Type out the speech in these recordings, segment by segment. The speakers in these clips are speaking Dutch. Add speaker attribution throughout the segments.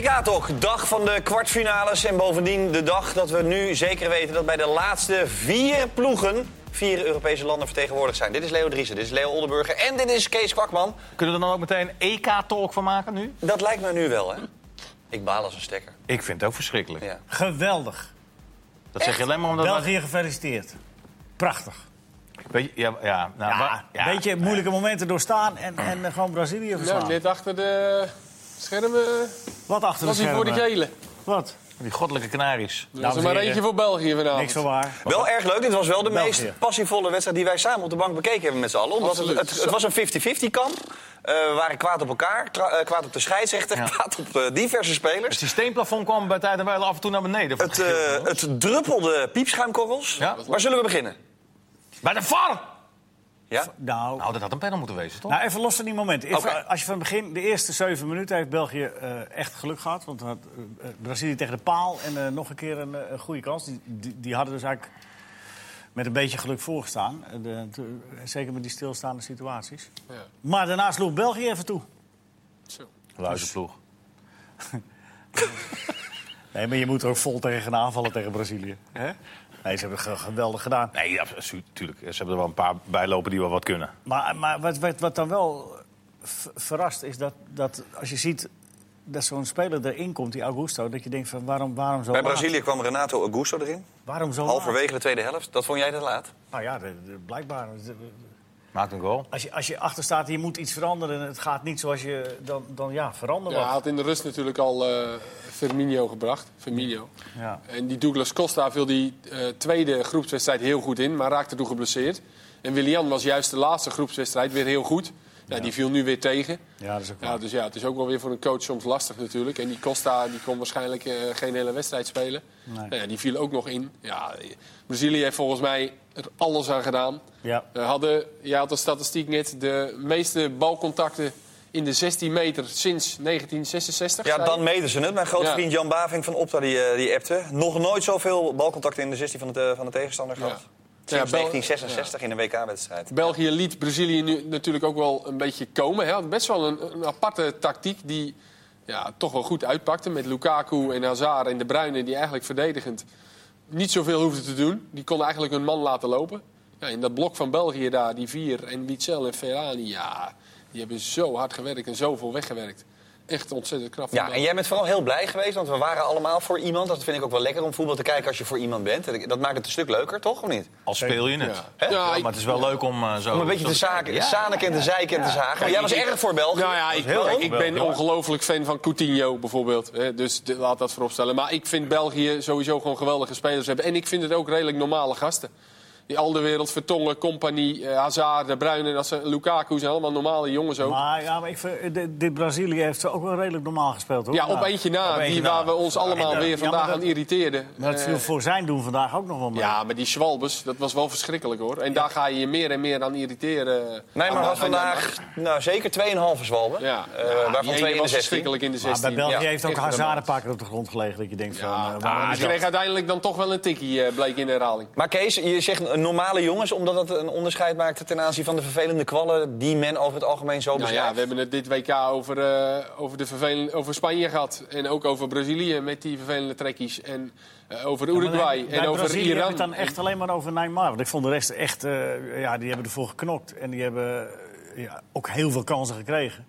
Speaker 1: Ja toch, dag van de kwartfinales en bovendien de dag dat we nu zeker weten dat bij de laatste vier ploegen vier Europese landen vertegenwoordigd zijn. Dit is Leo Driessen, dit is Leo Oldenburger en dit is Kees Kwakman.
Speaker 2: Kunnen we er dan ook meteen EK-talk van maken nu?
Speaker 1: Dat lijkt mij nu wel, hè? Ik baal als een stekker.
Speaker 2: Ik vind het ook verschrikkelijk.
Speaker 1: Ja.
Speaker 3: Geweldig.
Speaker 2: Dat zeg je alleen maar omdat...
Speaker 3: België gefeliciteerd. Prachtig.
Speaker 2: Weet je, ja, ja, nou, wa-
Speaker 3: Ja,
Speaker 2: ja.
Speaker 3: Een beetje moeilijke momenten doorstaan en, en eh, gewoon Brazilië
Speaker 4: Nou,
Speaker 3: verslaan.
Speaker 4: net achter de schermen
Speaker 3: Wat achter de
Speaker 4: was hij voor de
Speaker 3: schermen.
Speaker 4: gele.
Speaker 3: Wat?
Speaker 2: Die goddelijke kanaries. Nou,
Speaker 4: Er
Speaker 3: Dames
Speaker 4: was
Speaker 3: en
Speaker 4: er maar
Speaker 3: heren.
Speaker 4: eentje voor België vanavond.
Speaker 3: Niks van waar.
Speaker 1: Wel erg leuk, dit was wel de
Speaker 3: België.
Speaker 1: meest passievolle wedstrijd die wij samen op de bank bekeken hebben met z'n allen. Omdat het,
Speaker 4: Absoluut.
Speaker 1: het, het was een 50-50 kamp. Eh, we waren kwaad op elkaar, tra- eh, kwaad op de scheidsrechter, kwaad op eh, diverse spelers.
Speaker 2: Het systeemplafond kwam bij tijd en wijle af en toe naar beneden.
Speaker 1: Het, eh, het druppelde piepschuimkorrels.
Speaker 2: Ja.
Speaker 1: Waar zullen we beginnen?
Speaker 2: Bij de VAR!
Speaker 1: Ja?
Speaker 3: Nou,
Speaker 2: Nou, dat had een panel moeten wezen, toch?
Speaker 3: Nou, even los van die momenten. Even,
Speaker 1: Oké.
Speaker 3: Als je van het begin, de eerste zeven minuten, heeft België eh, echt geluk gehad. Want dan had eh, eh, Brazilië tegen de paal en eh, nog een keer een, eh, een goede kans. Die, die, die hadden dus eigenlijk met een beetje geluk voorgestaan. Eh, de- de- zeker met die stilstaande situaties.
Speaker 4: Ja.
Speaker 3: Maar daarna sloeg België even toe.
Speaker 4: Zo.
Speaker 2: Luizenploeg.
Speaker 3: Nee, maar je moet er ook vol tegen gaan aanvallen tegen Brazilië. Hè? Nee, ze hebben het ge- geweldig gedaan.
Speaker 2: Nee, ja, natuurlijk. Ze hebben er wel een paar bijlopen die wel wat kunnen.
Speaker 3: Maar, maar wat, wat, wat dan wel v- verrast is dat, dat als je ziet dat zo'n speler erin komt, die Augusto... dat je denkt van waarom, waarom zo
Speaker 1: Bij
Speaker 3: laat?
Speaker 1: Brazilië kwam Renato Augusto erin.
Speaker 3: Waarom zo laat?
Speaker 1: Halverwege de tweede helft. Dat vond jij dat laat?
Speaker 3: Nou ja, de- de- blijkbaar. De- de-
Speaker 2: Maakt een goal.
Speaker 3: Als je, als je achter staat, je moet iets veranderen en het gaat niet zoals je... dan, dan ja, verander
Speaker 4: Ja, hij
Speaker 3: wat.
Speaker 4: had in de rust natuurlijk al eh Firmino gebracht. Firmino.
Speaker 3: Ja.
Speaker 4: En die Douglas Costa viel die eh, tweede groepswedstrijd heel goed in, maar raakte toen geblesseerd. En Willian was juist de laatste groepswedstrijd weer heel goed. Nou, Die viel nu weer tegen.
Speaker 3: ja, dat is ook
Speaker 4: Ja,
Speaker 3: waar.
Speaker 4: dus ja, het is ook wel weer voor een coach soms lastig natuurlijk. En die Costa die kon waarschijnlijk eh, geen hele wedstrijd spelen.
Speaker 3: Nee.
Speaker 4: Nou ja, die viel ook nog in. Ja, eh, Brazilië heeft volgens mij er alles aan gedaan.
Speaker 3: Ja.
Speaker 4: Eh, hadden, jij had de statistiek net, de meeste balcontacten in de 16 meter sinds 1966.
Speaker 1: Ja,
Speaker 4: zei
Speaker 1: dan
Speaker 4: je?
Speaker 1: meten ze het. Mijn grote
Speaker 4: Ja.
Speaker 1: vriend Jan Baving van Opta die, eh, die appte. Nog nooit zoveel balcontacten in de 16 van de, eh, van de tegenstander gehad. Sinds
Speaker 4: Bel-
Speaker 1: 1966 in een WK-wedstrijd.
Speaker 4: België liet Brazilië nu natuurlijk ook wel een beetje komen. Hè. Had Best wel een, een aparte tactiek die ja, toch wel goed uitpakte. Met Lukaku en Hazard en De Bruyne die eigenlijk verdedigend niet zoveel hoefden te doen. Die konden eigenlijk hun man laten lopen. Ja, in dat blok van België daar, die vier en Witzel en Ferrani, ja, die hebben zo hard gewerkt en zoveel weggewerkt. Echt ontzettend knap. van
Speaker 1: Ja, en
Speaker 4: België.
Speaker 1: jij bent vooral heel blij geweest, want we waren allemaal voor iemand. Dat vind ik ook wel lekker om voetbal te kijken als je voor iemand bent. En Dat maakt het een stuk leuker, toch? Of niet?
Speaker 4: Oh,
Speaker 2: Al speel je het.
Speaker 4: Ja.
Speaker 2: Hè?
Speaker 4: Ja,
Speaker 2: Ja,
Speaker 4: ik-
Speaker 2: maar het is wel leuk om eh, zo...
Speaker 1: Om een beetje
Speaker 2: zo
Speaker 1: te zaken,
Speaker 2: Ja.
Speaker 1: zanen en te zeiken en te zagen. Maar jij was erg voor België.
Speaker 4: Nou ja, ik,
Speaker 2: heel erg
Speaker 4: kijk, ik ben
Speaker 2: geweldig.
Speaker 4: ongelooflijk fan van Coutinho bijvoorbeeld. Hè, dus de- laat dat vooropstellen. Maar ik vind België sowieso gewoon geweldige spelers hebben. En ik vind het ook redelijk normale gasten. Die Alderwereld, Vertongen, Compagnie, eh, Hazard, De Bruyne, dat zijn, Lukaku zijn allemaal normale jongens ook.
Speaker 3: Maar, ja, maar ik, vind- eh, dit, dit Brazilië heeft ook wel redelijk normaal gespeeld, hoor. Nou,
Speaker 4: ja, op eentje na, die waar we ons allemaal
Speaker 3: En, eh,
Speaker 4: weer
Speaker 3: ja,
Speaker 4: vandaag
Speaker 3: maar dat-
Speaker 4: aan irriteerden.
Speaker 3: Maar het
Speaker 4: Eh,
Speaker 3: viel voor zijn doen vandaag ook nog wel mee.
Speaker 4: ja, maar die Schwalbes, dat was wel verschrikkelijk hoor. En daar ga je je meer en meer aan irriteren.
Speaker 1: Nee, maar
Speaker 4: Aan-
Speaker 1: was
Speaker 4: aan-
Speaker 1: vandaag nou, zeker 2,5 zwalben.
Speaker 4: Ja,
Speaker 1: Eh,
Speaker 4: Ja, die
Speaker 1: waarvan twee
Speaker 4: ene
Speaker 1: in de
Speaker 4: was
Speaker 1: 16.
Speaker 4: verschrikkelijk in de
Speaker 3: maar
Speaker 4: 16.
Speaker 3: Ah, bij België
Speaker 1: ja,
Speaker 3: heeft ook
Speaker 1: echt normaal.
Speaker 3: Hazard een paar keer op de grond gelegen. Dat je denkt van, eh,
Speaker 4: Ja,
Speaker 3: waarom
Speaker 4: ah,
Speaker 3: is
Speaker 4: die
Speaker 3: dat?
Speaker 4: kreeg uiteindelijk dan toch wel een tikkie, eh, bleek in de herhaling.
Speaker 1: Maar Kees, je zegt eh, normale jongens, omdat dat een onderscheid maakt ten aanzien van de vervelende kwallen die men over het algemeen zo
Speaker 3: Dus
Speaker 4: Nou
Speaker 1: beschrijft.
Speaker 4: ja, we hebben het dit WK over, eh, over, de vervelende, over Spanje gehad. En ook over Brazilië met die vervelende trekkies. En eh, over Uruguay.
Speaker 3: Bij
Speaker 4: en over
Speaker 3: Brazilië
Speaker 4: Iran.
Speaker 3: heb ik het dan echt alleen maar over Neymar. Want ik vond de rest echt... eh, ja, die hebben ervoor geknokt. En die hebben eh, ja, ook heel veel kansen gekregen.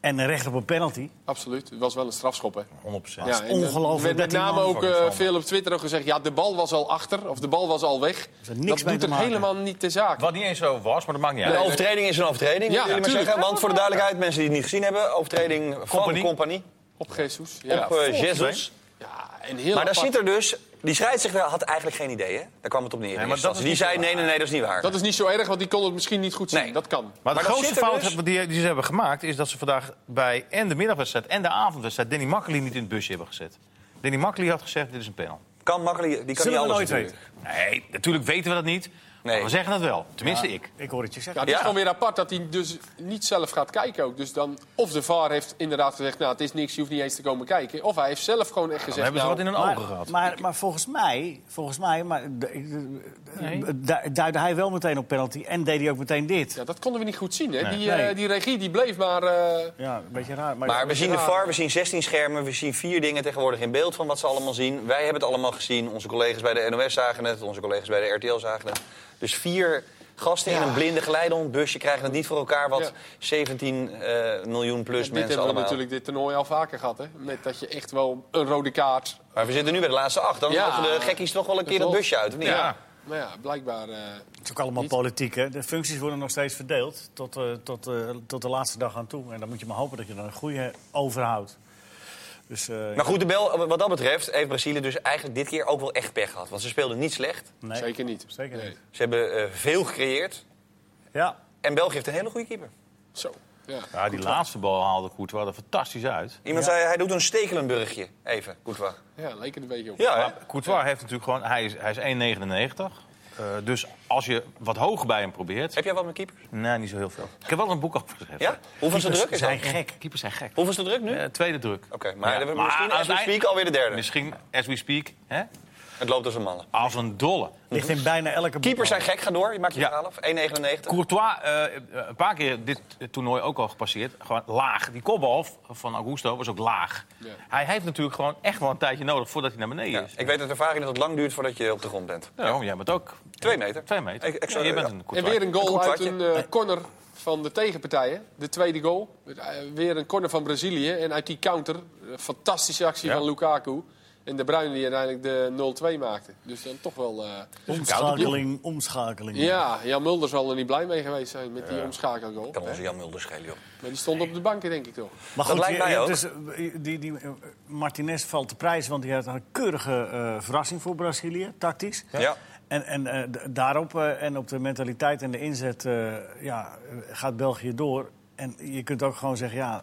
Speaker 3: En recht op een penalty.
Speaker 4: Absoluut. Het was wel een strafschop, hè?
Speaker 2: 100%.
Speaker 4: Ja, en, eh,
Speaker 3: ongelooflijk dat
Speaker 4: werd met
Speaker 3: die
Speaker 4: name
Speaker 3: man
Speaker 4: ook
Speaker 2: fucking
Speaker 4: eh,
Speaker 2: van.
Speaker 4: veel op Twitter ook gezegd... ja, de bal was al achter of de bal was al weg.
Speaker 3: er
Speaker 4: Dat
Speaker 3: niks mee
Speaker 4: doet
Speaker 3: te
Speaker 4: er
Speaker 3: maken.
Speaker 4: helemaal niet de zaak.
Speaker 2: Wat niet eens zo was, maar dat maakt niet
Speaker 1: Een
Speaker 2: uit.
Speaker 1: overtreding is een overtreding, ja,
Speaker 4: Ja,
Speaker 1: jullie maar
Speaker 4: tuurlijk.
Speaker 1: zeggen. Want voor de duidelijkheid, mensen die het niet gezien hebben, overtreding van de
Speaker 2: Compagnie.
Speaker 1: compagnie
Speaker 4: Op Jesus. Ja,
Speaker 1: op eh,
Speaker 2: volgens
Speaker 1: Jesus.
Speaker 4: ja en heel
Speaker 1: Maar daar
Speaker 4: apart.
Speaker 1: ziet er dus, die scheidsrechter had eigenlijk geen idee, hè? Daar kwam het op neer. in
Speaker 2: maar
Speaker 1: eerste
Speaker 2: dat is
Speaker 1: instantie. die zei,
Speaker 2: niet
Speaker 1: nee, nee, nee, dat is niet waar.
Speaker 4: Dat is niet zo erg, want die kon het misschien niet goed zien.
Speaker 1: Nee.
Speaker 4: Dat kan.
Speaker 2: Maar,
Speaker 1: Maar
Speaker 2: de
Speaker 1: dat
Speaker 2: grootste
Speaker 1: zit er
Speaker 2: fout
Speaker 1: dus.
Speaker 2: hebben die, die ze hebben gemaakt is dat ze vandaag bij en de middagwedstrijd en de avondwedstrijd Danny Makkely niet in het busje hebben gezet. Danny Makkely had gezegd: dit is een panel.
Speaker 1: Kan makkelijk, die kan
Speaker 3: Zullen
Speaker 1: niet
Speaker 3: we
Speaker 1: alles
Speaker 3: nooit
Speaker 1: natuurlijk.
Speaker 3: weten.
Speaker 2: Nee, natuurlijk weten we dat niet.
Speaker 1: Nee.
Speaker 2: We zeggen dat wel. Tenminste, ik.
Speaker 3: Ik hoor het je zeggen.
Speaker 4: Ja, dat is
Speaker 1: Ja.
Speaker 4: gewoon weer apart dat hij dus niet zelf gaat kijken ook. Dus dan, of de VAR heeft inderdaad gezegd, nou het is niks, je hoeft niet eens te komen kijken. Of hij heeft zelf gewoon echt
Speaker 2: Dan
Speaker 4: gezegd,
Speaker 2: hebben ze
Speaker 4: nou,
Speaker 2: wat in hun
Speaker 3: maar,
Speaker 2: ogen gehad.
Speaker 3: Maar, maar volgens mij, volgens mij maar, d- ik- d- du- duidde hij wel meteen op penalty en deed hij ook meteen dit.
Speaker 4: ja, dat konden we niet goed zien. Hè? die,
Speaker 3: Nee.
Speaker 4: eh, die regie die bleef maar...
Speaker 1: Dus
Speaker 4: eh,
Speaker 3: Ja, een beetje raar.
Speaker 1: Maar we zien de VAR, we zien 16 schermen, we zien vier dingen tegenwoordig in beeld van wat ze allemaal zien. Wij hebben het allemaal gezien, onze collega's bij de NOS zagen het, onze collega's bij de RTL zagen het. Dus vier gasten in een blinde geleidehondbusje krijgen het niet voor elkaar wat
Speaker 4: Ja.
Speaker 1: 17 eh, miljoen plus
Speaker 4: dit
Speaker 1: mensen
Speaker 4: hebben we
Speaker 1: allemaal.
Speaker 4: natuurlijk dit toernooi al vaker gehad. Hè? Met dat je echt wel een rode kaart...
Speaker 1: Maar we zitten nu bij de laatste acht, dan
Speaker 4: Ja.
Speaker 1: mogen de gekkies nog wel een keer
Speaker 4: Dat
Speaker 1: dat
Speaker 4: klopt.
Speaker 1: busje uit, of niet?
Speaker 2: Ja.
Speaker 4: Maar nou ja, blijkbaar... eh,
Speaker 3: Het is ook allemaal
Speaker 4: Niet.
Speaker 3: politiek, hè? De functies worden nog steeds verdeeld tot, eh, tot, eh, tot de laatste dag aan toe. En dan moet je maar hopen dat je er een goede overhoudt. Dus, eh,
Speaker 1: Maar goed, de bel, wat dat betreft heeft Brazilië dus eigenlijk dit keer ook wel echt pech gehad. Want ze speelden niet slecht,
Speaker 3: nee,
Speaker 4: Zeker niet.
Speaker 3: Zeker
Speaker 4: Nee.
Speaker 3: niet.
Speaker 1: ze hebben eh, veel gecreëerd
Speaker 3: Ja,
Speaker 1: en België heeft een hele goede keeper.
Speaker 4: Zo. Ja.
Speaker 2: Ja, die laatste bal haalde Courtois er fantastisch uit.
Speaker 1: Iemand zei, hij doet een stekelenburgje. Even, Courtois.
Speaker 4: ja, leek het een beetje op.
Speaker 1: Ja, hè?
Speaker 2: Maar Courtois heeft natuurlijk gewoon... Hij is, hij is 1,99. Eh, dus als je wat hoger bij hem probeert...
Speaker 1: Heb jij wat met keepers?
Speaker 2: Nee, niet zo heel veel. Ik heb wel een boek over geschreven.
Speaker 1: Ja? Hoeveelste druk
Speaker 3: ze
Speaker 1: is dat?
Speaker 3: zijn gek.
Speaker 2: Keepers zijn gek.
Speaker 1: Hoeveelste druk nu?
Speaker 2: Eh, tweede druk.
Speaker 1: Oké, maar,
Speaker 2: Ja,
Speaker 1: dan-
Speaker 2: maar
Speaker 1: misschien as we
Speaker 2: uiteindelijk-
Speaker 1: speak alweer de derde.
Speaker 2: Misschien, as we speak, hè?
Speaker 1: Het loopt als een malle.
Speaker 2: als een dolle.
Speaker 3: Ligt in bijna elke boek
Speaker 1: Keepers
Speaker 3: al.
Speaker 1: zijn gek, ga door. Je maakt je
Speaker 2: Ja.
Speaker 1: verhaal af. 1,99.
Speaker 2: Courtois, eh, een paar keer dit toernooi ook al gepasseerd. Gewoon laag. Die kopbal van Augusto was ook laag.
Speaker 4: Ja.
Speaker 2: Hij heeft natuurlijk gewoon echt wel een tijdje nodig voordat hij naar beneden
Speaker 1: Ja,
Speaker 2: is.
Speaker 1: ik weet uit ervaring dat het lang duurt voordat je op de grond bent.
Speaker 2: Ja, jij bent ook
Speaker 1: Twee meter.
Speaker 2: twee meter.
Speaker 1: Ik- ik
Speaker 2: Ja,
Speaker 1: zou-
Speaker 2: je bent
Speaker 1: ja.
Speaker 2: een
Speaker 4: En
Speaker 2: Courtois.
Speaker 4: weer een goal
Speaker 1: Een goed
Speaker 4: uit
Speaker 1: kwartje.
Speaker 4: een eh, corner van de tegenpartijen. De tweede goal. Eh, Weer een corner van Brazilië. En uit die counter, eh, fantastische actie
Speaker 2: Ja.
Speaker 4: van Lukaku. En de Bruyne die uiteindelijk de 0-2 maakte. Dus dan toch wel... eh,
Speaker 3: Omschakeling, omschakeling.
Speaker 4: ja, Jan Mulder zal er niet blij mee geweest zijn met die omschakelgoal.
Speaker 1: Kan onze Jan Mulder schelen, joh.
Speaker 4: Maar die stond op de bank, denk ik toch.
Speaker 1: Dat
Speaker 3: Maar goed,
Speaker 1: lijkt
Speaker 3: je-
Speaker 1: mij
Speaker 3: je
Speaker 1: ook.
Speaker 3: hebt dus, eh, die, die, eh, Martinez valt te prijzen, want die had een keurige eh, verrassing voor Brazilië, tactisch.
Speaker 1: Ja.
Speaker 3: En, en eh, d- daarop eh, en op de mentaliteit en de inzet eh, ja, eh, gaat België door. En je kunt ook gewoon zeggen, ja,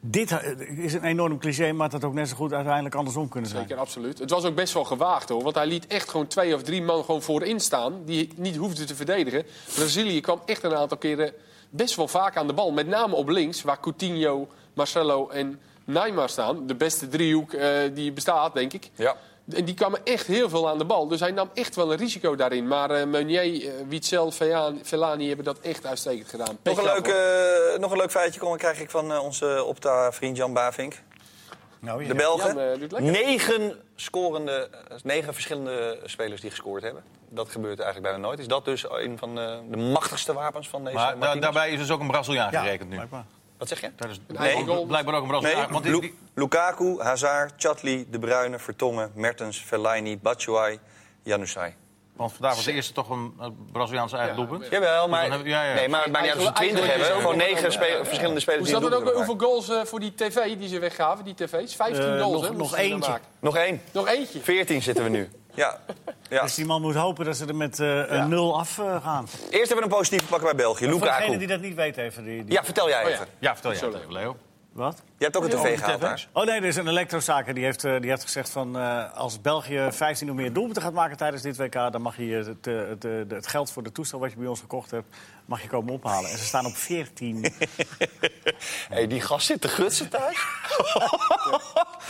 Speaker 3: dit eh, is een enorm cliché, maar het had ook net zo goed uiteindelijk andersom kunnen zijn.
Speaker 4: Zeker, absoluut. Het was ook best wel gewaagd hoor. Want hij liet echt gewoon twee of drie man gewoon voorin staan. Die niet hoefden te verdedigen. Brazilië kwam echt een aantal keren best wel vaak aan de bal. Met name op links, waar Coutinho, Marcelo en Neymar staan. De beste driehoek eh, die bestaat, denk ik.
Speaker 1: Ja.
Speaker 4: En die kwamen echt heel veel aan de bal. Dus hij nam echt wel een risico daarin. Maar eh Meunier, eh, Witzel, Vean- Velani hebben dat echt uitstekend gedaan.
Speaker 1: Nog een,
Speaker 4: Petje af,
Speaker 1: leuk,
Speaker 4: hoor.
Speaker 1: eh, nog een leuk feitje kon, krijg ik van eh, onze Opta-vriend Jan Bavink.
Speaker 3: Nou, ja.
Speaker 1: De Belgen.
Speaker 4: Jan, eh, doet lekker.
Speaker 1: negen, scorende, eh, negen verschillende spelers die gescoord hebben. Dat gebeurt eigenlijk bijna nooit. Is dat dus een van eh, de machtigste wapens van deze
Speaker 2: Maar da-
Speaker 1: Martinez?
Speaker 2: daarbij is dus ook een Braziliaan
Speaker 3: Ja,
Speaker 2: gerekend nu.
Speaker 3: blijkbaar.
Speaker 1: Wat zeg je?
Speaker 2: Dat is
Speaker 4: eigen goal.
Speaker 2: blijkbaar ook een Braziliaan.
Speaker 1: Nee,
Speaker 2: want die-
Speaker 1: Lu-
Speaker 2: die-
Speaker 1: Lukaku, Hazard, Chatli, De Bruyne, Vertongen, Mertens, Fellaini, Batshuayi, Januzaj.
Speaker 2: want vandaag was de eerste toch een eh, Braziliaanse eigen
Speaker 4: Ja,
Speaker 2: doelpunt.
Speaker 1: Jawel, maar,
Speaker 2: Dan heb- ja, ja.
Speaker 1: Nee, maar het maakt niet uit of ze twintig
Speaker 4: Eigenlijk
Speaker 1: hebben.
Speaker 4: is
Speaker 1: Gewoon
Speaker 4: het ook wel-
Speaker 1: negen spe- verschillende spelers
Speaker 4: Hoe
Speaker 1: eh, die
Speaker 4: zat het
Speaker 1: een
Speaker 4: ook?
Speaker 1: doelpunt
Speaker 4: Hoeveel goals eh, voor die tv die ze weggaven, die tv's? 15
Speaker 3: Eh,
Speaker 4: goals,
Speaker 3: nog-
Speaker 4: hè?
Speaker 3: nog
Speaker 4: moesten ze er
Speaker 3: eentje.
Speaker 1: maken.
Speaker 4: maken.
Speaker 1: Nog één.
Speaker 4: Nog eentje.
Speaker 1: Veertien zitten we nu. Ja. ja.
Speaker 3: Dus die man moet hopen dat ze er met eh, een nul af eh, gaan.
Speaker 1: Eerst hebben we een positieve pakken bij België.
Speaker 3: Voor degene die
Speaker 1: Lukaku.
Speaker 3: dat niet weet, even die... die-
Speaker 1: Ja, vertel jij
Speaker 4: Oh,
Speaker 1: even.
Speaker 4: ja.
Speaker 2: Ja, vertel jij
Speaker 4: Zo
Speaker 2: het
Speaker 4: leuk.
Speaker 2: even, Leo.
Speaker 3: Wat?
Speaker 1: Je hebt ook een tv gehaald
Speaker 2: TV.
Speaker 1: daar.
Speaker 3: Oh nee, er is een elektrozaker die heeft, eh, die heeft gezegd van... eh, als België 15 of meer doelpunten gaat maken tijdens dit WK... dan mag je het, eh, het, eh, het geld voor de toestel wat je bij ons gekocht hebt... mag je komen ophalen. En ze staan op 14.
Speaker 1: hey, die gast zit te gutsen thuis.